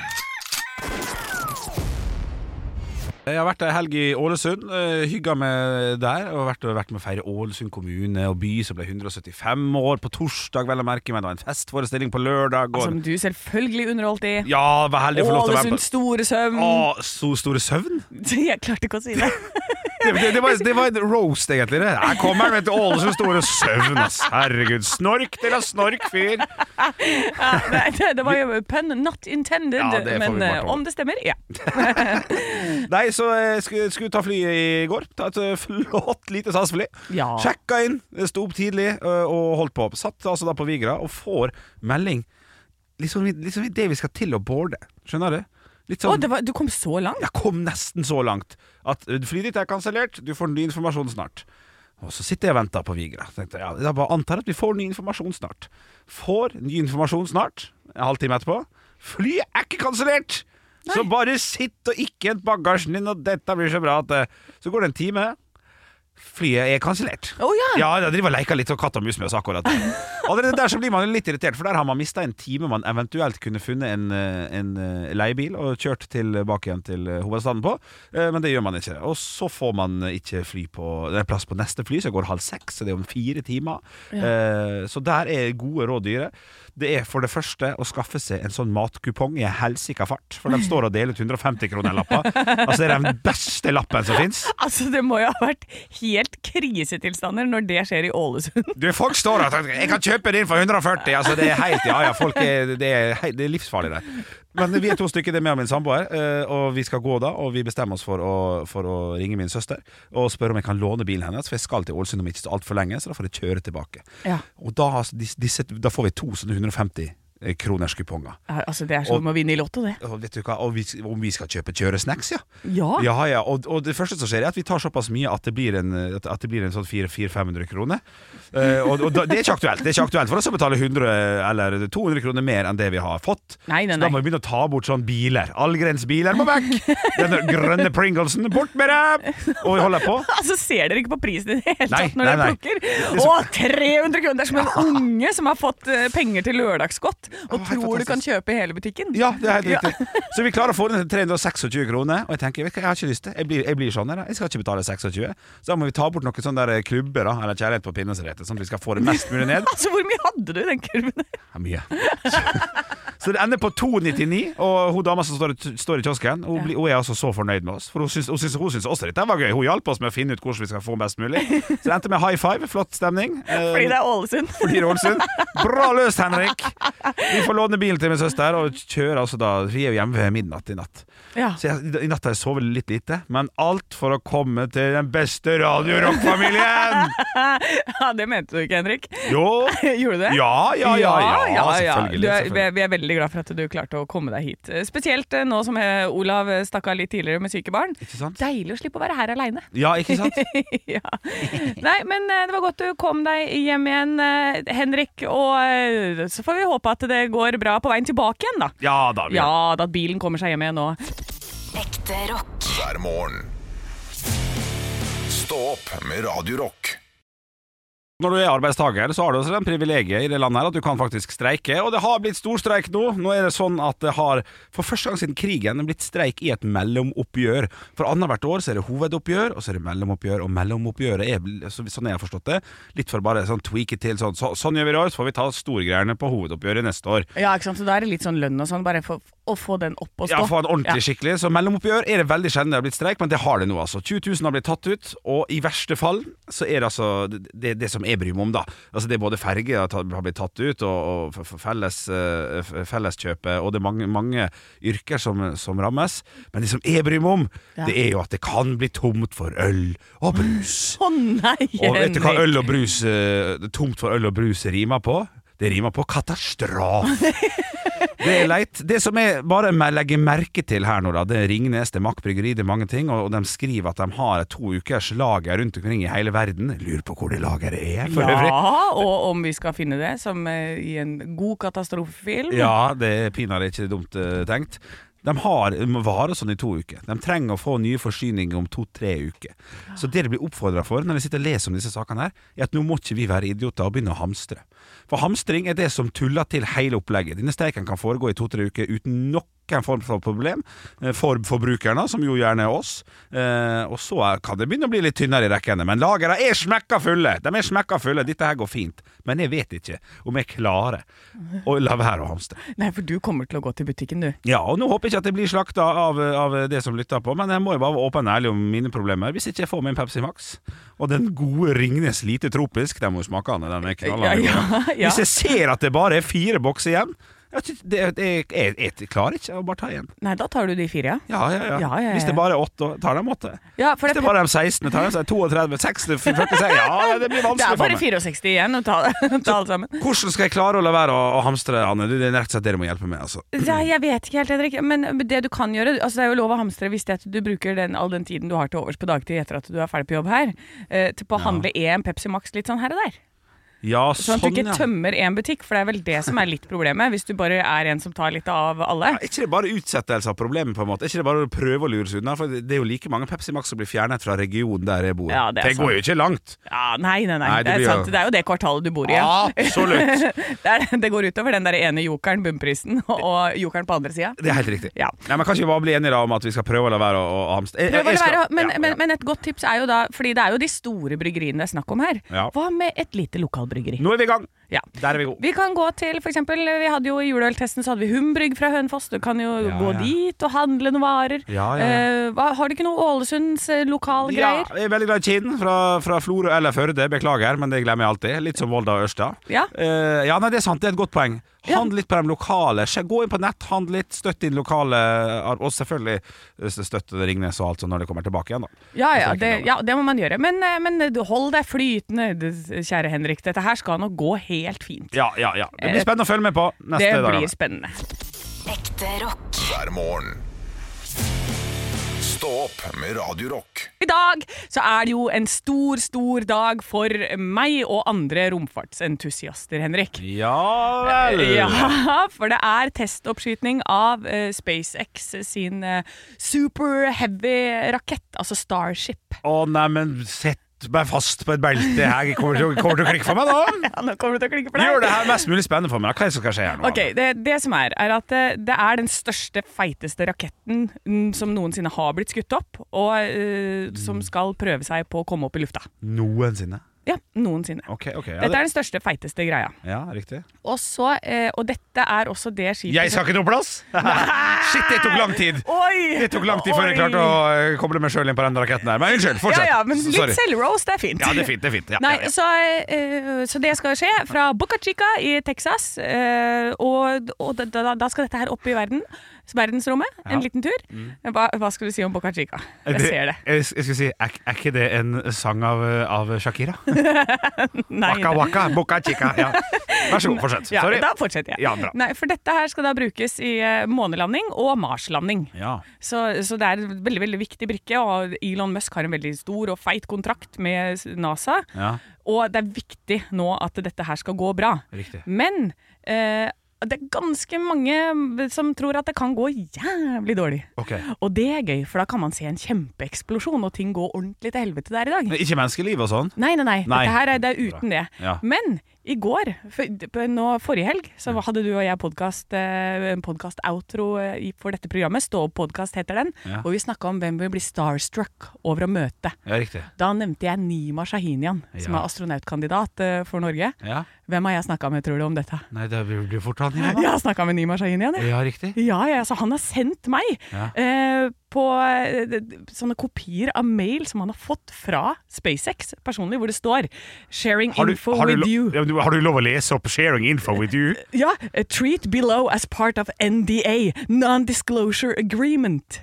Speaker 2: Jeg har vært ei helg i Ålesund, uh, hygga meg der. Og vært, vært med å feire Ålesund kommune og by som ble 175 år på torsdag, vel å merke. Men det var en festforestilling på lørdag. Og,
Speaker 3: Som du selvfølgelig underholdt i.
Speaker 2: ja, var heldig å få lov til å være
Speaker 3: Ålesund
Speaker 2: med.
Speaker 3: store søvn.
Speaker 2: Å, så store søvn?
Speaker 3: Jeg klarte ikke å si det.
Speaker 2: Det, det, det, var, det var en roast, egentlig. Det. Her kommer han, vet du. Ålesund store søvn, ass. Herregud. Snork, dere snork, fyr.
Speaker 3: Ja, nei, det, det var jo pun not intended,
Speaker 2: Ja, det får vi
Speaker 3: men
Speaker 2: bare
Speaker 3: eh,
Speaker 2: tåle.
Speaker 3: om det stemmer, ja.
Speaker 2: Nei, så jeg skulle, skulle ta flyet i går. Ta et eh, flott lite SAS-fly.
Speaker 3: Ja.
Speaker 2: Sjekka inn, sto opp tidlig eh, og holdt på. Satt altså da på Vigra og får melding liksom, i- liksom i det vi skal til å boarde. Skjønner du? Litt
Speaker 3: Å,
Speaker 2: sånn
Speaker 3: det var, du kom så langt?
Speaker 2: Jeg kom nesten så langt at eh, flyet ditt er kansellert, du får ny informasjon snart. Og så sitter jeg og venter på Vigra. Tenkte, ja, jeg bare antar at vi får ny informasjon snart. Får ny informasjon snart, en halvtime etterpå. Flyet er ikke kansellert! Så bare sitt og ikke hent bagasjen din, og dette blir så bra at eh, Så går det en time. Flyet er kansellert.
Speaker 3: Å ja.
Speaker 2: Ja, jeg driver og leker litt og katt og mus med oss akkurat der. Allerede der så blir man jo litt irritert, for der har man mista en time man eventuelt kunne funnet en, eh, en eh, leiebil og kjørt tilbake igjen til eh, hovedstaden på, Eh, men det gjør man ikke. Og så får man eh, ikke fly på Det er plass på neste fly, så går halv seks, så det er om fire timer. Eh, Så der er gode råd dyre. Det er for det første å skaffe seg en sånn matkupong i en helsika fart, for de står og deler ut 150-kronerlapper. Altså, det er den beste lappen som fins.
Speaker 3: Altså, det må jo ha vært helt krisetilstander når det skjer i Ålesund.
Speaker 2: Du, folk står og tenker 'Jeg kan kjøpe den for 140'. Altså, det er helt Ja ja, folk er, det, er, hei- det er livsfarlig der. Men vi er to stykker, det er meg og min samboer, eh, og vi skal gå da. Og vi bestemmer oss for å, for å ringe min søster og spørre om jeg kan låne bilen hennes, for jeg skal til Ålesund om ikke så altfor lenge, så da får jeg kjøre tilbake.
Speaker 3: Ja.
Speaker 2: Og da, har dis- disse, da får vi to sånne 150 eh, kroners kuponger.
Speaker 3: Altså, det er som å vinne i Lotto, det.
Speaker 2: Og vet du hva, og vi, om vi skal kjøpe kjøresnacks, ja.
Speaker 3: Ja.
Speaker 2: Ja, ja, og, og det første som skjer er at vi tar såpass mye at det blir en, at at det blir en sånn 400-500 kroner. Eh, og og da, det er ikke aktuelt Det er ikke aktuelt for oss å betale 100 eller 200 kroner mer enn det vi har fått.
Speaker 3: Nei, nei,
Speaker 2: Så da må
Speaker 3: nei.
Speaker 2: vi begynne å ta bort sånn biler. Allgrensbiler må vekk! Den grønne Pringlesen, bort med det! Og vi holder på.
Speaker 3: Altså, Ser dere ikke på prisen i det hele
Speaker 2: Nei,
Speaker 3: tatt når
Speaker 2: nei,
Speaker 3: dere
Speaker 2: nei.
Speaker 3: plukker?
Speaker 2: Det
Speaker 3: Å,
Speaker 2: som-
Speaker 3: 300 kroner! Det er som en unge som har fått eh, penger til lørdagsgodt og
Speaker 2: helt
Speaker 3: tror du kan
Speaker 2: fantastisk.
Speaker 3: kjøpe hele butikken.
Speaker 2: Ja, det er helt riktig. Så vi klarer å få den til 326 kroner, og jeg tenker vet du hva, jeg har ikke lyst til Jeg blir, jeg blir sånn, jeg, da. jeg skal ikke betale 26. Så da må vi ta bort noen sånne der klubber, da, eller Kjærlighet på pinnesretet, sånn at vi skal få det mest mulig ned.
Speaker 3: Altså, Hvor mye hadde du i den kurven? der?
Speaker 2: Ja, mye. Så det ender på 2,99, og hun dama som står, i- står i kiosken, hun, blir- hun er altså så fornøyd med oss. For hun syns, hun syns, hun syns også dette var gøy. Hun hjalp oss med å finne ut hvordan vi skal få best mulig. Så det endte med high five, flott stemning. Eh,
Speaker 3: Fordi det er Ålesund.
Speaker 2: fordi det er Ålesund. Bra løst, Henrik! Vi får låne bilen til min søster, og kjører altså da Vi er jo hjemme ved midnatt i natt.
Speaker 3: Ja.
Speaker 2: Så jeg, I natt har jeg sovet litt lite, men alt for å komme til den beste Radio Rock-familien!
Speaker 3: ja, det mente du ikke, Henrik.
Speaker 2: Jo!
Speaker 3: Gjorde du det?
Speaker 2: Ja, ja, ja, ja,
Speaker 3: ja, ja.
Speaker 2: selvfølgelig,
Speaker 3: Du er,
Speaker 2: selvfølgelig.
Speaker 3: vi er- vi er veldig glad for at du klarte å komme deg hit. Eh, Spesielt eh, nå som eh, Olav eh, stakk av litt tidligere med syke barn.
Speaker 2: Ikke sant?
Speaker 3: Deilig å slippe å være her aleine.
Speaker 2: Ja, ikke sant?
Speaker 3: ja. Nei, men eh, det var godt du kom deg hjem igjen, eh, Henrik. Og eh, så får vi håpe at det går bra på veien tilbake igjen, da.
Speaker 2: Ja da. Vi
Speaker 3: Ja, da at bilen kommer seg hjem igjen nå.
Speaker 6: Ekte rock.
Speaker 1: hver morgen. Stå opp med Radio Rock.
Speaker 2: Når du er arbeidstaker, så har du også den privilegiet i det landet her at du kan faktisk streike, og det har blitt storstreik nå. Nå er det sånn at det har, for første gang siden krigen, blitt streik i et mellomoppgjør. For annethvert år så er det hovedoppgjør, og så er det mellomoppgjør, og mellomoppgjøret er, bl- så- sånn jeg har forstått det, litt for bare sånn tweake til sånn, så, sånn gjør vi i år, så får vi ta storgreiene på hovedoppgjøret neste år.
Speaker 3: Ja, ikke sant. Så da er det litt sånn lønn og sånn, bare for å få den opp og stå.
Speaker 2: Ja, få en ordentlig skikkelig. Så mellomoppgjør er det veldig sjelden det har blitt streik, men det har det nå, altså. 20 000 har blitt tatt ut, og i verste fall så er det altså det, det som jeg bryr meg om, da. Altså det er både ferge har tatt- har blitt tatt ut, og, og f- f- felles, eh, f- felleskjøpet, og det er mange, mange yrker som, som rammes. Men det som jeg bryr meg om,
Speaker 3: Ja.
Speaker 2: det er jo at det kan bli tomt for øl og brus.
Speaker 3: Å nei,
Speaker 2: Og vet du hva
Speaker 3: Henrik.
Speaker 2: øl og brus eh, Tomt for øl og brus rimer på? Det rimer på katastrofe. Det er leit. Det som jeg bare me- legger merke til her nå, da, det er Ringnes, det er Mack Bryggeri, det er mange ting, og og de skriver at de har et to ukers lager rundt omkring i hele verden. Lurer på hvor det lageret er, for øvrig.
Speaker 3: Ja, og om vi skal finne det som eh, i en god katastrofefilm.
Speaker 2: Ja, det er pinadø ikke dumt eh, tenkt. De har de må vare sånn i to uker. De trenger å få nye forsyninger om to-tre uker. Så det de blir oppfordra for når de sitter og leser om disse sakene, her, er at nå må ikke vi være idioter og begynne å hamstre. For hamstring er det som tuller til hele opplegget. Denne streiken kan foregå i to-tre uker uten noen form for problem eh, for forbrukerne, som jo gjerne er oss. Eh, og så er- kan det begynne å bli litt tynnere i rekkene. Men lagrene er smekka fulle! De er smekka fulle. Dette her går fint. Men jeg vet ikke om jeg klarer å la være å hamstre.
Speaker 3: Nei, for du kommer til å gå til butikken, du.
Speaker 2: Ja, og nå håper jeg ikke at jeg blir slakta av, av det som lytter på, men jeg må jo bare være åpen og ærlig om mine problemer hvis ikke jeg får min Pepsi Max. Og den gode Ringnes Lite Tropisk, den må jo smake den, den er knallende.
Speaker 3: Ja, ja,
Speaker 2: god.
Speaker 3: ja.
Speaker 2: Hvis jeg ser at det bare er fire bokser igjen, jeg, vet ikke, det, det, jeg, jeg klarer ikke å bare ta igjen.
Speaker 3: Nei, da tar du de fire, ja.
Speaker 2: Ja ja ja.
Speaker 3: Ja, ja, ja, ja.
Speaker 2: Hvis det bare er åtte, tar de åtte.
Speaker 3: Ja, for
Speaker 2: Hvis
Speaker 3: det,
Speaker 2: det bare er de 16, tar de seg 32, 60, 46 Ja, det blir vanskelig
Speaker 3: det er
Speaker 2: for
Speaker 3: bare
Speaker 2: meg.
Speaker 3: 64 igjen å ta, ta alt sammen.
Speaker 2: Hvordan skal jeg klare å la være å, å hamstre, Anne? Det det er rett og slett det du må hjelpe med, altså.
Speaker 3: Nei, jeg vet ikke helt, Henrik. Men det du kan gjøre altså Det er jo lov å hamstre hvis det er at du bruker den, all den tiden du har til overs på dagtid etter at du er ferdig på jobb her, eh, til på å handle én Pepsi Max litt sånn her og der.
Speaker 2: Ja,
Speaker 3: Sånn at du ikke
Speaker 2: ja.
Speaker 3: tømmer én butikk, for det er vel det som er litt problemet. Hvis du bare er en som tar litt av alle.
Speaker 2: Ja, er ikke det bare utsettelse av problemet? på en måte? Er ikke det bare å prøve å lure seg unna? For det det er jo like mange Pepsi Max som blir fjernet fra regionen der jeg bor.
Speaker 3: Ja, det er sant.
Speaker 2: går jo ikke langt.
Speaker 3: Ja, nei, nei, nei.
Speaker 2: Nei, det
Speaker 3: det,
Speaker 2: blir jo-
Speaker 3: er
Speaker 2: Ah.
Speaker 3: sant. det er jo det kvartalet du bor i. Ja.
Speaker 2: Absolutt.
Speaker 3: Det, er, det går utover den der ene jokeren, bunnprisen, og, og jokeren på andre sida.
Speaker 2: Det er helt riktig.
Speaker 3: Ja.
Speaker 2: Nei, men Kan ikke vi bare bli enige da om at vi skal prøve å la være å, å hamstre? Jeg-
Speaker 3: Prøv å
Speaker 2: jeg
Speaker 3: la
Speaker 2: skal-
Speaker 3: være, å- men,
Speaker 2: Ja, ja.
Speaker 3: men, men et godt tips er jo da, fordi det er jo de store bryggeriene det er snakk om her.
Speaker 2: Ja.
Speaker 3: Hva med et lite lokalbryggeri?
Speaker 2: Nå er vi i gang.
Speaker 3: Ja.
Speaker 2: Der er vi gode.
Speaker 3: Vi kan gå til for eksempel, Vi hadde jo i juleøltesten så hadde vi Humbrygg fra Hønefoss. Du kan jo gå
Speaker 2: ja.
Speaker 3: dit og handle noen varer.
Speaker 2: Ja, ja, ja.
Speaker 3: Eh, hva- har du ikke noe Ålesunds eh,
Speaker 2: Ja,
Speaker 3: lokalgreier?
Speaker 2: jeg er veldig glad i Kinn fra, fra Florø eller Førde. Beklager, men det glemmer jeg alltid. Litt som Volda og Ørsta.
Speaker 3: Ja.
Speaker 2: Eh, ja, nei, det er sant. Det er et godt poeng.
Speaker 3: Ja.
Speaker 2: Handle litt på de lokale. Skje- Gå inn på nett, handle litt, støtt din lokale Og selvfølgelig støtte Ringnes og alt sånn når det kommer tilbake igjen, da.
Speaker 3: Ja, ja,
Speaker 2: Jeg tenker
Speaker 3: det, ja, det må man gjøre. Men, eh, men du, hold deg flytende, du, kjære Henrik. Dette her skal nå gå helt fint.
Speaker 2: Ja, ja, ja. Det blir spennende å følge med på neste
Speaker 3: Eh, det
Speaker 2: dag.
Speaker 3: blir spennende.
Speaker 6: Ekte rock.
Speaker 1: hver morgen. Stå opp med Radio Rock.
Speaker 3: I dag så er det jo en stor, stor dag for meg og andre romfartsentusiaster, Henrik.
Speaker 2: Ja vel.
Speaker 3: Eh, Ja, for det er testoppskyting av eh, SpaceX sin eh, super heavy rakett, altså Starship.
Speaker 2: Å nei, men sett meg fast på et belte her. Jeg Kommer til, å- kommer til å klikke for meg nå?
Speaker 3: Ja, nå kommer det til å klikke for deg.
Speaker 2: Gjør det her mest mulig spennende for meg. Hva er det som skal skje her nå?
Speaker 3: Ok, det, det som er, er at eh, det er den største, feiteste raketten mm, som noensinne har blitt skutt opp, og eh, som
Speaker 2: Mm.
Speaker 3: skal prøve seg på å komme opp i lufta.
Speaker 2: Noensinne.
Speaker 3: Ja, noensinne.
Speaker 2: Ok, ok. Ja,
Speaker 3: Dette er den største, feiteste greia.
Speaker 2: det- ja riktig.
Speaker 3: Og, så, eh, og dette er også det skipet
Speaker 2: Jeg skal ikke noe plass! Shit, det tok lang tid.
Speaker 3: Oi!
Speaker 2: Det tok lang tid før jeg klarte å eh, koble meg sjøl inn på den raketten her. Men unnskyld,
Speaker 3: Ja,
Speaker 2: fortsett.
Speaker 3: ja, men
Speaker 2: Sorry.
Speaker 3: litt selvroast er fint.
Speaker 2: Ja, det er fint. det er fint ja,
Speaker 3: Nei,
Speaker 2: ja, ja.
Speaker 3: så, eh, så det skal skje fra Boca Chica i Texas. eh, og og da, da, da skal dette her opp i verden, verdensrommet. En liten tur.
Speaker 2: Mm.
Speaker 3: Hva, hva skal du si om Boca Chica? Jeg ser det.
Speaker 2: Jeg, jeg skulle si, er, er ikke det en sang av, eh, av Shakira?
Speaker 3: Nei,
Speaker 2: Waka waka, boka chica. Ja. Vær så god, fortsett.
Speaker 3: Ja,
Speaker 2: Sorry.
Speaker 3: Da fortsetter jeg.
Speaker 2: Ja, bra.
Speaker 3: Nei, for dette her skal da brukes i eh, månelanding og Marslanding.
Speaker 2: Ja.
Speaker 3: Så, så det er en veldig veldig viktig brikke. Og Elon Musk har en veldig stor og feit kontrakt med NASA.
Speaker 2: Ja.
Speaker 3: Og det er viktig nå at dette her skal gå bra.
Speaker 2: Riktig.
Speaker 3: Men eh, det er ganske mange som tror at det kan gå jævlig dårlig.
Speaker 2: Ok.
Speaker 3: Og det er gøy, for da kan man se en kjempeeksplosjon, og ting går ordentlig til helvete der i dag.
Speaker 2: Men Ikke menneskeliv og sånn?
Speaker 3: Nei, nei, nei.
Speaker 2: Nei.
Speaker 3: Dette her er, det er uten det.
Speaker 2: Ja.
Speaker 3: Men i går, for, på- nå, forrige helg, så
Speaker 2: Mm.
Speaker 3: hadde du og jeg podcast, eh, en podcast-outro eh, i- for dette programmet. Stå opp-podkast heter den.
Speaker 2: Ja.
Speaker 3: Hvor vi snakka om hvem vi blir starstruck over å møte.
Speaker 2: Ja, riktig.
Speaker 3: Da nevnte jeg Nima Shahinian, som
Speaker 2: Ja.
Speaker 3: er astronautkandidat eh, for Norge.
Speaker 2: Ja.
Speaker 3: Hvem har jeg snakka med, tror du, om dette?
Speaker 2: Nei, det blir blir fort han igjen,
Speaker 3: Jeg har snakka med Nima Shahinian, jeg.
Speaker 2: Ja, riktig.
Speaker 3: Ja, ja, altså han har sendt meg
Speaker 2: Ja.
Speaker 3: eh, på eh, d- d- sånne kopier av mail som han har fått fra SpaceX personlig, hvor det står 'sharing
Speaker 2: Har du,
Speaker 3: info
Speaker 2: har, du
Speaker 3: with
Speaker 2: lo-
Speaker 3: you'.
Speaker 2: Ja, men du, har du lov å lese opp 'sharing info with you'?
Speaker 3: Ja, eh, 'treat below as part of NDA, non-disclosure agreement'.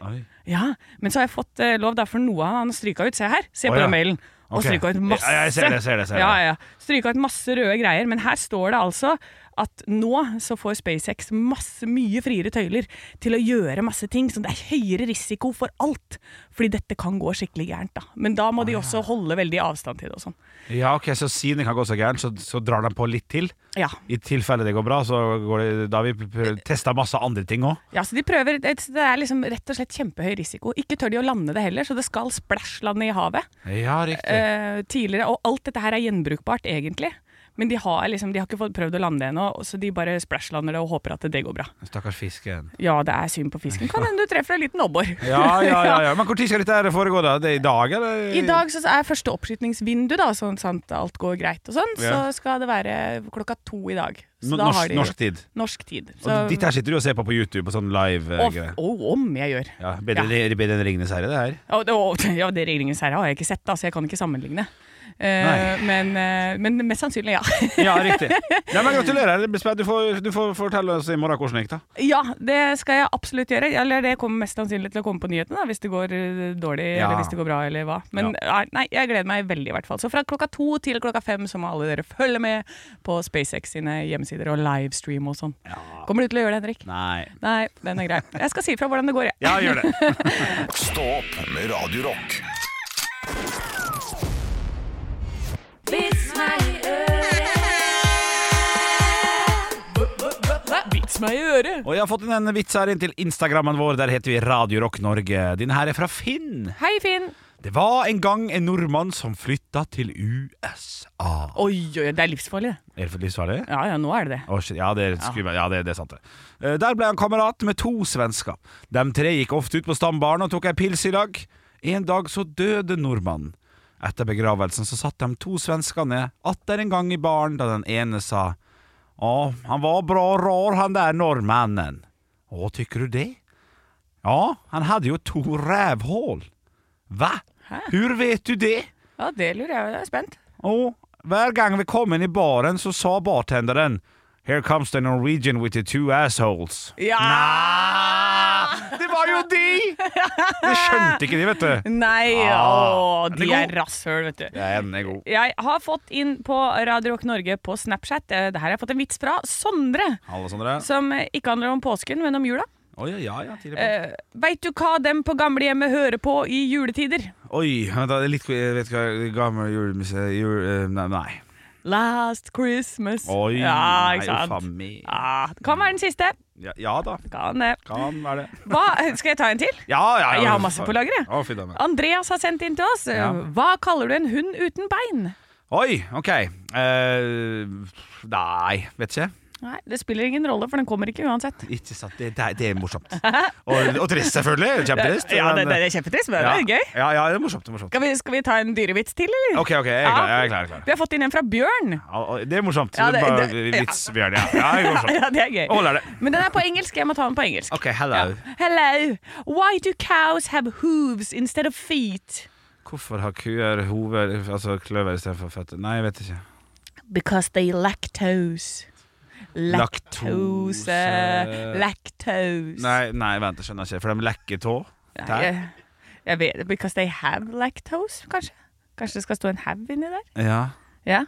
Speaker 3: Ja, Men så har jeg fått eh, lov, da, for noe han har stryka ut. Se her, se
Speaker 2: Å,
Speaker 3: på
Speaker 2: ja.
Speaker 3: den mailen. Og
Speaker 2: Ok.
Speaker 3: stryka ut masse
Speaker 2: Ja, jeg ser det, jeg ser det, jeg ser det.
Speaker 3: Ja, ja. Stryka ut masse røde greier. Men her står det altså at nå så får SpaceX masse, mye friere tøyler til å gjøre masse ting. Så det er høyere risiko for alt. Fordi dette kan gå skikkelig gærent, da. Men da må de
Speaker 2: Ah,
Speaker 3: også holde veldig avstand til det og sånn.
Speaker 2: Ja, ok, så siden det kan gå så gærent, så, så drar de på litt til.
Speaker 3: Ja.
Speaker 2: I tilfelle det går bra, så går det, da har vi prøvd- testa masse andre ting òg.
Speaker 3: Ja, så de prøver, det det er liksom rett og slett kjempehøy risiko. Ikke tør de å lande det heller, så det skal splæsjlande i havet
Speaker 2: Ja, riktig.
Speaker 3: eh, tidligere. Og alt dette her er gjenbrukbart, egentlig. Men de har, liksom, de har ikke fått prøvd å lande ennå, så de bare splæsjlander det og håper at det går bra.
Speaker 2: Stakkars fisken.
Speaker 3: Ja, det er synd på fisken. Kan hende du treffer en liten abbor.
Speaker 2: Ja, ja, ja, ja. Men når skal dette her foregå, da? Det er I dag, eller?
Speaker 3: I dag så er første oppskytningsvindu, da, sånn sant alt går greit og sånn.
Speaker 2: Ja.
Speaker 3: Så skal det være klokka to i dag. Så
Speaker 2: N-
Speaker 3: da
Speaker 2: norsk,
Speaker 3: har de
Speaker 2: norsk tid.
Speaker 3: norsk tid.
Speaker 2: Og Dette her sitter du og ser på på YouTube, på sånn
Speaker 3: og,
Speaker 2: live-greier.
Speaker 3: og om jeg gjør.
Speaker 2: Ja, bedre, bedre enn Ringenes herre, det her.
Speaker 3: Og, og, ja, det Ringenes herre har jeg ikke sett, da, så jeg kan ikke sammenligne. Eh,
Speaker 2: Nei.
Speaker 3: men, eh, men mest sannsynlig, ja.
Speaker 2: Ja, riktig. Nei, men Gratulerer. Det blir spennende. Du får, du får fortelle oss i morgen hvordan det gikk, da.
Speaker 3: ja, det skal jeg absolutt gjøre. Eller det kommer mest sannsynlig til å komme på nyhetene, da, hvis det går eh, dårlig
Speaker 2: Ja.
Speaker 3: eller hvis det går bra, eller hva. Men eh, nei, jeg gleder meg veldig, i hvert fall. Så fra klokka to til klokka fem så må alle dere følge med på SpaceX sine hjemmesider og livestream og sånn. Kommer du til å gjøre det, Henrik?
Speaker 2: Nei.
Speaker 3: Nei, den er grei. Jeg skal si ifra hvordan det går, jeg.
Speaker 2: Ja, gjør det.
Speaker 1: Stå opp med Radio Rock.
Speaker 6: Vits meg i øret.
Speaker 3: meg i øret.
Speaker 2: Og jeg har fått inn en vits her inn til Instagrammen vår. Der heter vi Radio Rock Norge. Din her er fra Finn.
Speaker 3: Hei, Finn.
Speaker 2: Det var en gang en nordmann som flytta til USA.
Speaker 3: Oi, oi, det er livsfarlig, det.
Speaker 2: Er det for livsfarlig?
Speaker 3: Ja, ja, nå er det det.
Speaker 2: Å, shit, ja, det er skummelt. Ja, det, det er sant, det. Eh, Der ble han kamerat med to svensker. De tre gikk ofte ut på stambaren og tok ei pils i lag. En dag så døde nordmannen. Etter begravelsen så satt de to svenskene atter en gang i baren da den ene sa Å, han var bra rar, han der nordmannen. Å, tykker du det? Ja, han hadde jo to rævhål. Hva? Hur vet du det?
Speaker 3: Ja, det lurer jeg på. Jeg er spent.
Speaker 2: Og hver gang vi kom inn i baren, så sa bartenderen Here comes the Norwegian with the two assholes.
Speaker 3: Ja!
Speaker 2: Det var jo de! Det skjønte ikke de, vet du.
Speaker 3: Nei,
Speaker 2: Ah,
Speaker 3: å,
Speaker 2: den er
Speaker 3: de
Speaker 2: god.
Speaker 3: er rasshøl, vet du.
Speaker 2: Den er god.
Speaker 3: Jeg har fått inn på Radio Rock Norge på Snapchat. eh, Det her har jeg fått en vits fra Sondre,
Speaker 2: Hallo, Sondre.
Speaker 3: som eh, ikke handler om påsken, men om jula.
Speaker 2: Oi, ja, ja, tidlig på.
Speaker 3: Uh, Veit du hva dem på gamlehjemmet hører på i juletider?
Speaker 2: Oi, vent da, det er litt Jeg vet ikke hva gammel julemusikk jul, eh, Nei. nei.
Speaker 3: Last Christmas.
Speaker 2: Oi,
Speaker 3: ja,
Speaker 2: nei,
Speaker 3: ikke
Speaker 2: uff a
Speaker 3: sant?
Speaker 2: meg.
Speaker 3: Ja, det kan være den siste.
Speaker 2: Ja, ja da.
Speaker 3: Kan det.
Speaker 2: Kan være det.
Speaker 3: Hva, skal jeg ta en til?
Speaker 2: Ja, ja, ja.
Speaker 3: Jeg har masse på lager, jeg.
Speaker 2: Å, fy da, men.
Speaker 3: Andreas har sendt inn til oss.
Speaker 2: Ja.
Speaker 3: Hva kaller du en hund uten bein?
Speaker 2: Oi, OK. Eh, nei, vet ikke.
Speaker 3: Nei, Det spiller ingen rolle, for den kommer ikke uansett.
Speaker 2: Ikke sant, det, det, er- det er morsomt. Og, og trist, selvfølgelig. Kjempetrist.
Speaker 3: Ja, det,
Speaker 2: men-
Speaker 3: det er kjempetrist, men det er gøy.
Speaker 2: Ja, ja, det er morsomt. Det er morsomt.
Speaker 3: Skal vi, skal vi ta en dyrevits til, eller?
Speaker 2: Ok, ok, jeg er klar. Jeg er klar, jeg er klar.
Speaker 3: Vi har fått inn en fra Bjørn.
Speaker 2: Ja, og det er morsomt.
Speaker 3: Ja,
Speaker 2: det,
Speaker 3: det-
Speaker 2: er bare
Speaker 3: det- ja.
Speaker 2: vits, Bjørn. Ja, ja det er morsomt.
Speaker 3: Ja, det er gøy.
Speaker 2: Og holder det.
Speaker 3: Men den er på engelsk. Jeg må ta den på engelsk.
Speaker 2: Ok, hello.
Speaker 3: Hello. Why do cows have hooves instead of feet?
Speaker 2: Hvorfor har kuer hover, altså kløver istedenfor føtter? Nei, jeg vet ikke.
Speaker 3: Because they lactose.
Speaker 2: Laktose.
Speaker 3: Laktose. Lactose.
Speaker 2: Nei, nei vent, jeg skjønner ikke. For de lekker tå.
Speaker 3: Nei,
Speaker 2: Der.
Speaker 3: jeg, jeg vet det. Because they have lactose, kanskje? Kanskje det skal stå en have inni der?
Speaker 2: Ja.
Speaker 3: Ja,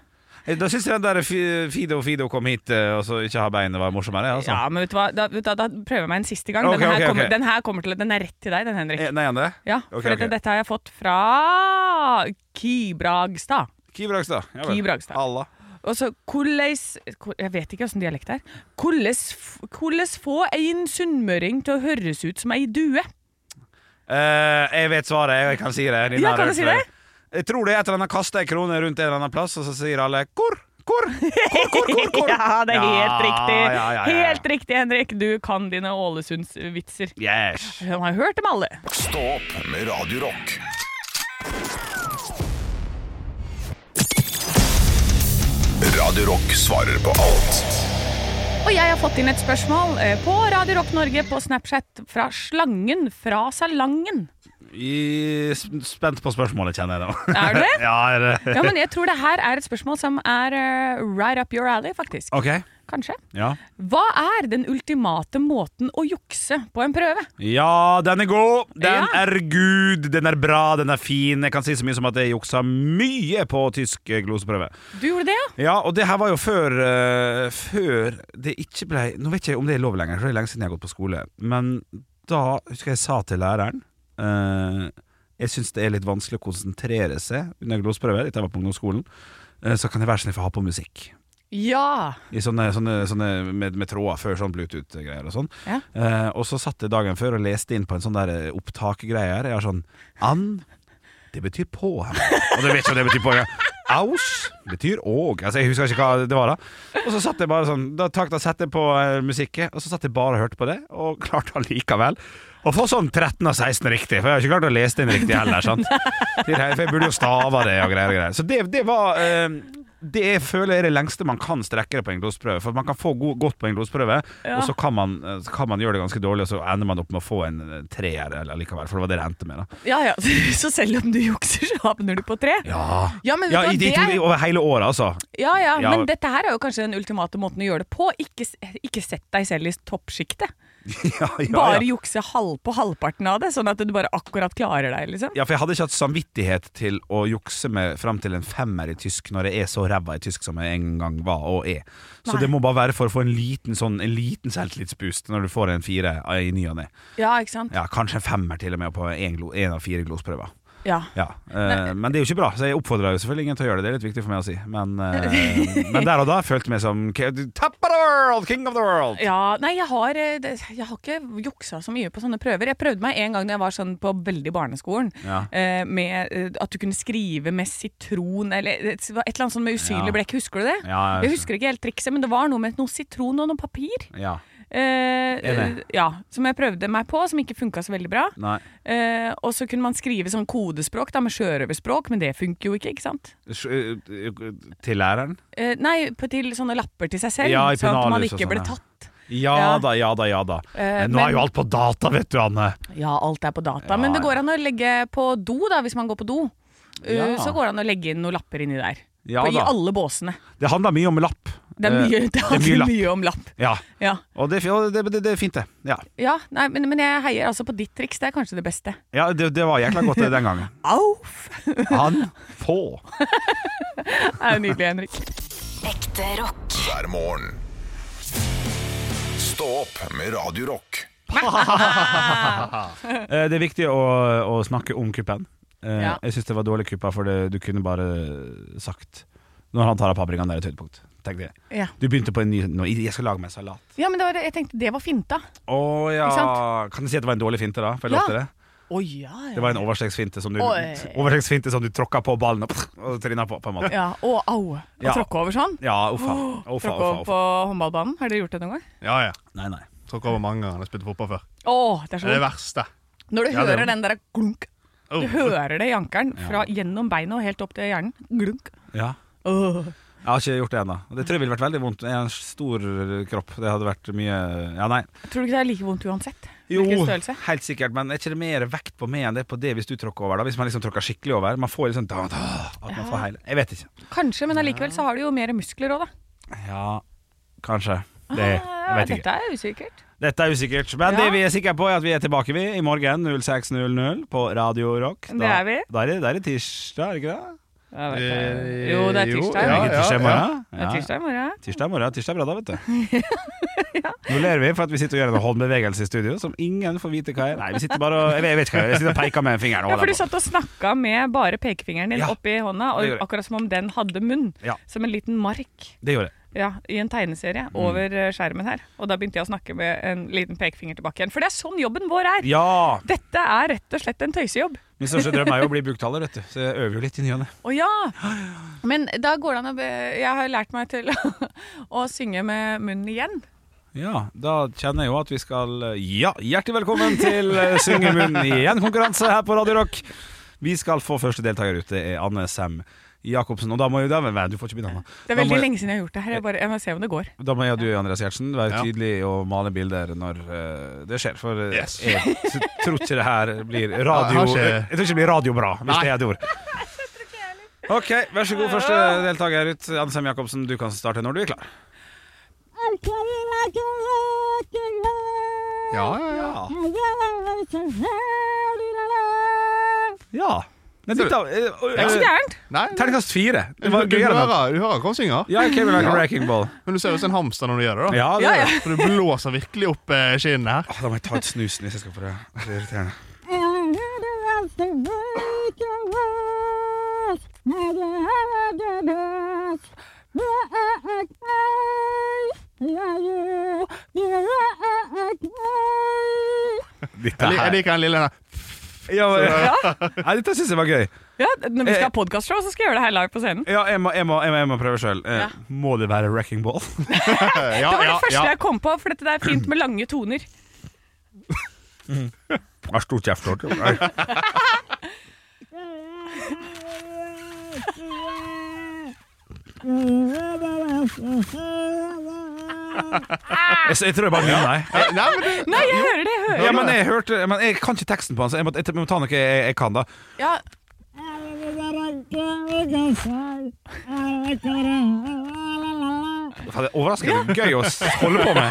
Speaker 2: Eh, Da syns jeg den der Fi- Fido Fido kom hit eh, og så ikke ha beinet var morsommere. Altså.
Speaker 3: ja men vet du hva? Da, vet du, hva, da prøver jeg meg en siste gang.
Speaker 2: Ok,
Speaker 3: den, her
Speaker 2: ok, ok.
Speaker 3: kommer, den her kommer til Den er rett til deg, den, Henrik.
Speaker 2: Eh, Nei, Anne.
Speaker 3: Ja,
Speaker 2: ok,
Speaker 3: for dette,
Speaker 2: ok.
Speaker 3: dette har jeg fått fra Kibragstad.
Speaker 2: Ki Bragstad. Ja vel.
Speaker 3: Ki Bragstad.
Speaker 2: Alla.
Speaker 3: Og så korleis hvor- Altså, Jeg vet ikke åssen dialekt det er. Korleis f- Korleis få en sunnmøring til å høres ut som ei due?
Speaker 2: Eh, jeg vet svaret, jeg kan si det. Din
Speaker 3: Ja,
Speaker 2: har
Speaker 3: kan du
Speaker 2: hørt
Speaker 3: si
Speaker 2: før.
Speaker 3: det?
Speaker 2: Jeg tror det er et eller annet kaster ei krone rundt en eller annen plass, og så sier alle hvor? Hvor? Hvor, hvor, hvor, hvor?
Speaker 3: Ja, det er helt riktig.
Speaker 2: Ja, ja, ja, ja.
Speaker 3: Helt riktig, Henrik. Du kan dine Ålesundsvitser.
Speaker 2: Yes.
Speaker 3: Han har hørt dem alle.
Speaker 1: Stå opp med Radio Rock. Radio Rock svarer på alt
Speaker 3: Og jeg har fått inn et spørsmål eh, på Radio Rock Norge på Snapchat fra Slangen fra Salangen.
Speaker 2: I, sp- spent på spørsmålet, kjenner jeg nå.
Speaker 3: Er du det?
Speaker 2: ja, er det?
Speaker 3: Ja, men jeg tror det her er et spørsmål som er eh, right up your alley, faktisk.
Speaker 2: OK.
Speaker 3: Kanskje.
Speaker 2: Ja.
Speaker 3: Hva er den ultimate måten å jukse på en prøve?
Speaker 2: ja, den er god! Den
Speaker 3: Ja.
Speaker 2: er gud, den er bra, den er fin. Jeg kan si så mye som at jeg juksa mye på tysk eh, gloseprøve.
Speaker 3: Du gjorde det, ja?
Speaker 2: Ja, og det her var jo før eh, Før det ikke ble Nå vet ikke jeg om det er lov lenger, for det er lenge siden jeg har gått på skole. Men da husker jeg jeg sa til læreren eh, Jeg syns det er litt vanskelig å konsentrere seg under gloseprøve. Dette var på ungdomsskolen. Eh, så kan jeg være så snill få ha på musikk.
Speaker 3: Ja.
Speaker 2: I sånne, sånne, sånne med, med tråder før sånn Bluetooth-greier og sånn.
Speaker 3: Ja.
Speaker 2: Eh, og så satt jeg dagen før og leste inn på en sånn der eh, opptakgreie her. Jeg har sånn An, det betyr på. Her. Og du vet ikke hva det betyr på. Ja. Aus betyr åg. Altså, jeg husker ikke hva det var da. Og så satt jeg bare sånn Da, takk, da satte jeg på eh, musikket, og så satt jeg bare og hørte på det, og klarte allikevel. Å få sånn 13 av 16 riktig, for jeg har ikke klart å lese det inn riktig heller. Sant? Det her, For jeg burde jo stava det og greier og greier. Så det, det var eh, Det jeg føler er det lengste man kan strekke det på en glosprøve. For man kan få go godt på en glosprøve, og så kan, man, eh, så kan man gjøre det ganske dårlig, og så ender man opp med å få en eh, treer eller likevel. For det var det det endte med, da.
Speaker 3: ja, ja. Så selv om du jukser, så havner du på tre?
Speaker 2: Ja,
Speaker 3: Ja, men vet
Speaker 2: ja
Speaker 3: du
Speaker 2: i,
Speaker 3: hva,
Speaker 2: i,
Speaker 3: det er-
Speaker 2: Over hele året, altså.
Speaker 3: Ja, ja,
Speaker 2: Ja.
Speaker 3: men dette her er jo kanskje den ultimate måten å gjøre det på. Ikke, s- ikke sett deg selv i toppsjiktet.
Speaker 2: Ja, ja,
Speaker 3: Bare
Speaker 2: ja.
Speaker 3: jukse halv på halvparten av det, sånn at du bare akkurat klarer deg, liksom.
Speaker 2: ja, for jeg hadde ikke hatt samvittighet til å jukse med fram til en femmer i tysk når jeg er så ræva i tysk som jeg en gang var og er. Så
Speaker 3: Nei.
Speaker 2: det må bare være for å få en liten sånn En liten selvtillitsboost når du får en fire i ny og ne.
Speaker 3: Ja, ikke sant?
Speaker 2: Ja, kanskje en femmer til og med på en, glo, en av fire glosprøver.
Speaker 3: Ja.
Speaker 2: Ja, eh, men det er jo ikke bra, så jeg oppfordrer jo selvfølgelig ingen til å gjøre det. Det er litt viktig for meg å si. Men, eh, men der og da følte jeg meg som ke- Top of the world! King of the world!
Speaker 3: Ja, nei, jeg har, eh, det- jeg har ikke juksa så mye på sånne prøver. Jeg prøvde meg en gang da jeg var sånn på veldig barneskolen.
Speaker 2: Ja.
Speaker 3: eh, Med eh, at du kunne skrive med sitron eller et det var et eller annet sånt med usynlig
Speaker 2: Ja.
Speaker 3: blekk. Husker du det?
Speaker 2: Ja, jeg
Speaker 3: jeg husker ikke helt trikset, men det var noe med noe sitron og noe papir.
Speaker 2: Ja.
Speaker 3: eh,
Speaker 2: det?
Speaker 3: ja, Som jeg prøvde meg på, som ikke funka så veldig bra.
Speaker 2: Nei.
Speaker 3: Eh, og så kunne man skrive sånn kodespråk da, med sjørøverspråk, men det funker jo ikke. ikke sant?
Speaker 2: Sj- eh, eh, Til læreren?
Speaker 3: Eh, nei, på, til sånne lapper til seg selv,
Speaker 2: Ja, i
Speaker 3: sånn at man
Speaker 2: pennalhus og
Speaker 3: ikke ble
Speaker 2: sånn, ja.
Speaker 3: tatt.
Speaker 2: Ja,
Speaker 3: Ja.
Speaker 2: da, ja da, ja da.
Speaker 3: Eh,
Speaker 2: men nå
Speaker 3: men-
Speaker 2: er jo alt på data, vet du, Anne.
Speaker 3: Ja, alt er på data.
Speaker 2: Ja,
Speaker 3: men det
Speaker 2: ja.
Speaker 3: går an å legge på do, da, hvis man går på do. Uh,
Speaker 2: Ja.
Speaker 3: Så går det an å legge inn noen lapper inni der.
Speaker 2: Ja
Speaker 3: på, I
Speaker 2: da.
Speaker 3: alle båsene.
Speaker 2: Det handler mye om lapp.
Speaker 3: Det er mye,
Speaker 2: Eh,
Speaker 3: det handler mye,
Speaker 2: lapp.
Speaker 3: om lapp.
Speaker 2: Ja,
Speaker 3: Ja,
Speaker 2: og det, er fi- og det, det, det er fint, det. Ja,
Speaker 3: ja nei, men, men jeg heier altså på ditt triks. Det er kanskje det beste.
Speaker 2: ja det, det var jækla godt det den gangen.
Speaker 3: Auf!
Speaker 2: Han få.
Speaker 3: Det er jo nydelig, Henrik.
Speaker 6: Ekte rock.
Speaker 1: hver morgen. Stå opp med Radio Rock.
Speaker 2: Eh, Det er viktig å, å snakke om kuppen. Eh,
Speaker 3: Ja.
Speaker 2: Jeg syns det var dårlig kuppa, for det, du kunne bare sagt Når han tar av paprikaen, det er et høydepunkt. Tenkte jeg.
Speaker 3: Ja.
Speaker 2: Du begynte på en ny nå, Jeg skal lage meg en salat.
Speaker 3: ja, men det var, jeg tenkte det var finta.
Speaker 2: Å ja.
Speaker 3: Ikke sant?
Speaker 2: Kan jeg si at det var en dårlig finte, da? For jeg
Speaker 3: Ja.
Speaker 2: lovte det.
Speaker 3: Å ja, ja.
Speaker 2: Det var en overstegsfinte som du,
Speaker 3: Oi.
Speaker 2: overstegsfinte som du tråkka på ballen og, og trinna på, på en måte.
Speaker 3: ja. Å, au. Å
Speaker 2: Ja.
Speaker 3: tråkke over sånn.
Speaker 2: Ja, uffa. Uffa,
Speaker 3: Tråkke
Speaker 2: uffa,
Speaker 3: over på
Speaker 2: uffa.
Speaker 3: håndballbanen. Har dere gjort det noen gang?
Speaker 4: Ja, ja.
Speaker 2: Nei, nei.
Speaker 4: Tråkket over mange ganger når jeg spilte fotball før.
Speaker 3: Å, det er
Speaker 4: Det er
Speaker 3: så
Speaker 4: det
Speaker 3: vondt.
Speaker 4: verste.
Speaker 3: Når du
Speaker 4: Ja, det er
Speaker 3: hører den der glunk,
Speaker 4: Oh.
Speaker 3: du hører det i ankelen fra gjennom beinet og helt opp til hjernen. Glunk.
Speaker 2: Ja.
Speaker 3: Åh.
Speaker 2: Jeg har ikke gjort det ennå. Og Det tror jeg ville vært veldig vondt. Jeg har en stor kropp. Det hadde vært mye Ja, nei.
Speaker 3: Tror du ikke det er like vondt uansett?
Speaker 2: Jo,
Speaker 3: Hvilken størrelse?
Speaker 2: helt sikkert, men er ikke det mer vekt på meg enn det er på det hvis du tråkker over? da Hvis man liksom tråkker skikkelig over? Man får litt sånn da, da, At man får hele Jeg vet ikke.
Speaker 3: Kanskje, men allikevel så har du jo mer muskler òg, da.
Speaker 2: Ja, kanskje. Det, jeg vet ikke.
Speaker 3: Ah, Dette er usikkert.
Speaker 2: Dette er usikkert. Men
Speaker 3: Ja.
Speaker 2: det vi er sikre på, er at vi er tilbake vi i morgen 06.00 på Radio Rock.
Speaker 3: Det er vi.
Speaker 2: Da er det, da er det tirsdag, er det ikke det?
Speaker 4: Eh,
Speaker 3: Jo, det er tirsdag.
Speaker 2: Er
Speaker 4: Ja,
Speaker 2: det ikke tirsdag i morgen?
Speaker 3: Det er tirsdag i morgen.
Speaker 2: Tirsdag i morgen, tirsdag er bra da, vet du. Nå ler vi for at vi sitter og gjør en håndbevegelse i studio som ingen får vite hva er. Nei, vi sitter bare og Jeg vet ikke hva jeg gjør. Jeg sitter og peker med fingeren. og
Speaker 3: Ja, for du
Speaker 2: holder på.
Speaker 3: satt og snakka med bare pekefingeren din
Speaker 2: Ja.
Speaker 3: oppi hånda,
Speaker 2: Det gjorde
Speaker 3: og
Speaker 2: jeg.
Speaker 3: akkurat som om den hadde munn.
Speaker 2: Ja.
Speaker 3: Som en liten mark
Speaker 2: Det gjorde jeg.
Speaker 3: ja, i en tegneserie
Speaker 2: Mm.
Speaker 3: over eh, skjermen her. Og da begynte jeg å snakke med en liten pekefinger tilbake igjen. For det er sånn jobben vår er!
Speaker 2: Ja!
Speaker 3: Dette er rett og slett en tøysejobb.
Speaker 2: Min største drøm er jo å bli buktaler, vet du. Så jeg øver jo litt i ny og ne.
Speaker 3: Å ja! Men da går det an å be Jeg har lært meg til å synge med munnen igjen.
Speaker 2: Ja, da kjenner jeg jo at vi skal eh, Ja, hjertelig velkommen til eh, Syng i munnen igjen-konkurranse her på Radio Rock. Vi skal få første deltaker ut. Det er Anne Sem Jacobsen. Og da må jo da, Nei, du får ikke begynne, Anne.
Speaker 3: Det
Speaker 2: Da
Speaker 3: er
Speaker 2: må
Speaker 3: veldig
Speaker 2: jeg-
Speaker 3: lenge siden jeg har gjort det her. Jeg, bare, jeg må se om det går.
Speaker 2: Da må jeg og du, Andreas Gjertsen, være
Speaker 4: Ja.
Speaker 2: tydelige og male bilder når eh, det skjer. For eh,
Speaker 4: Yes.
Speaker 2: jeg t- tror ikke det her blir
Speaker 4: Jeg
Speaker 2: radio Jeg,
Speaker 4: har ikke-
Speaker 2: tror ikke det blir radiobra, hvis
Speaker 4: Nei.
Speaker 2: det er et ord. OK, vær så god, første deltaker ut. Anne Sem Jacobsen, du kan starte når du er klar.
Speaker 4: Ja, ja, ja.
Speaker 2: Ja. Men dette, eh,
Speaker 3: Det er ikke så
Speaker 2: eh,
Speaker 3: gærent.
Speaker 4: Nei, nei.
Speaker 2: Terningkast fire.
Speaker 4: Du,
Speaker 2: Det var
Speaker 4: du,
Speaker 2: gøyere. enn-
Speaker 4: hører, du hører hva han synger,
Speaker 2: Ja, jeg came like a wrecking ball.
Speaker 4: men du ser ut som en hamster når du gjør det. da
Speaker 2: Ja, det
Speaker 3: Ja, ja.
Speaker 2: det.
Speaker 4: For du blåser virkelig opp eh, skinnet her.
Speaker 2: Åh, Da må jeg ta ut snusen hvis jeg skal prøve. Det er irriterende. Dette
Speaker 4: Jeg, lik- jeg
Speaker 2: her
Speaker 4: liker den lille der.
Speaker 2: ja, men, Nei, Dette syns jeg var gøy.
Speaker 3: Ja, når
Speaker 4: Eh,
Speaker 3: vi skal ha podkastshow, så skal jeg gjøre det her live på scenen.
Speaker 2: Ja, jeg må, jeg må, jeg må, jeg må prøve sjøl. Eh,
Speaker 3: Ja.
Speaker 2: Må det være wrecking ball?
Speaker 4: Ja,
Speaker 3: Det var det
Speaker 4: ja,
Speaker 3: første
Speaker 4: ja.
Speaker 3: jeg kom på, for dette der er fint med lange toner.
Speaker 2: Jeg har stor kjeft. Lord. Jeg, jeg tror jeg bare begynner, nei.
Speaker 4: Eh, Nei, men du,
Speaker 3: Nei, jeg hører det! Jeg hører
Speaker 2: Ja,
Speaker 3: det.
Speaker 2: men jeg hørte Men jeg kan ikke teksten på den, så jeg må, jeg må ta noe jeg, jeg kan, da.
Speaker 3: Ja,
Speaker 2: Faen, Det er overraskende gøy å s- holde på med.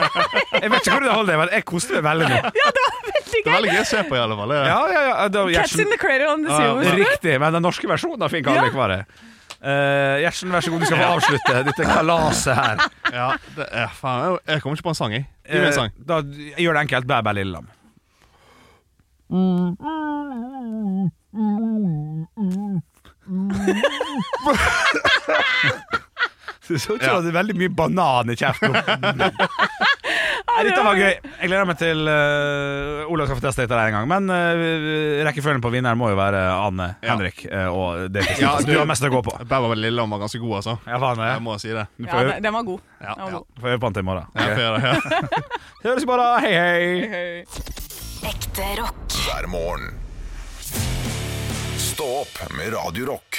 Speaker 2: Jeg vet ikke hvor det holder, men jeg koste meg veldig nå.
Speaker 3: veldig
Speaker 4: det er
Speaker 3: gøy!
Speaker 4: veldig gøy å se på, i alle fall. Det.
Speaker 2: Ja, ja, ja, det var
Speaker 3: Cats
Speaker 2: Gjertsen.
Speaker 3: in the crater on the
Speaker 2: Ja,
Speaker 3: sea.
Speaker 2: Riktig, men den norske versjonen fikk han
Speaker 3: Ja.
Speaker 2: ikke være. Eh, Gjertsen, vær så god, du skal få avslutte dette kalaset her.
Speaker 4: Ja, det er, faen, jeg- jeg kommer ikke på en sang, jeg. Gi meg en sang.
Speaker 2: Eh, Da jeg gjør det enkelt. Bæ, bæ, lille lam. Du så ikke du hadde veldig mye banan i kjeften. Nei, Dette var gøy. Jeg gleder meg til uh, Olav skal få teste dette der en gang. Men eh, rekkefølgen på vinneren må jo være Anne,
Speaker 4: Ja.
Speaker 2: Henrik eh, og det
Speaker 4: Ja,
Speaker 2: du,
Speaker 4: du-
Speaker 2: har mest å gå på.
Speaker 4: Bæver Lilleland var ganske god, altså.
Speaker 2: Ja, faen,
Speaker 4: Jeg
Speaker 2: jeg
Speaker 4: må si det.
Speaker 2: Du
Speaker 3: Ja, altså.
Speaker 2: får øve-
Speaker 3: den- den var god.
Speaker 4: Ja,
Speaker 3: Den var
Speaker 4: ja.
Speaker 3: god.
Speaker 2: får øve på den til i morgen.
Speaker 4: Jeg får gjøre det, ja.
Speaker 2: Høres i morgen. Hei, hei.
Speaker 3: Høy.
Speaker 6: Ekte rock.
Speaker 1: hver morgen. Stå opp med Radio Rock.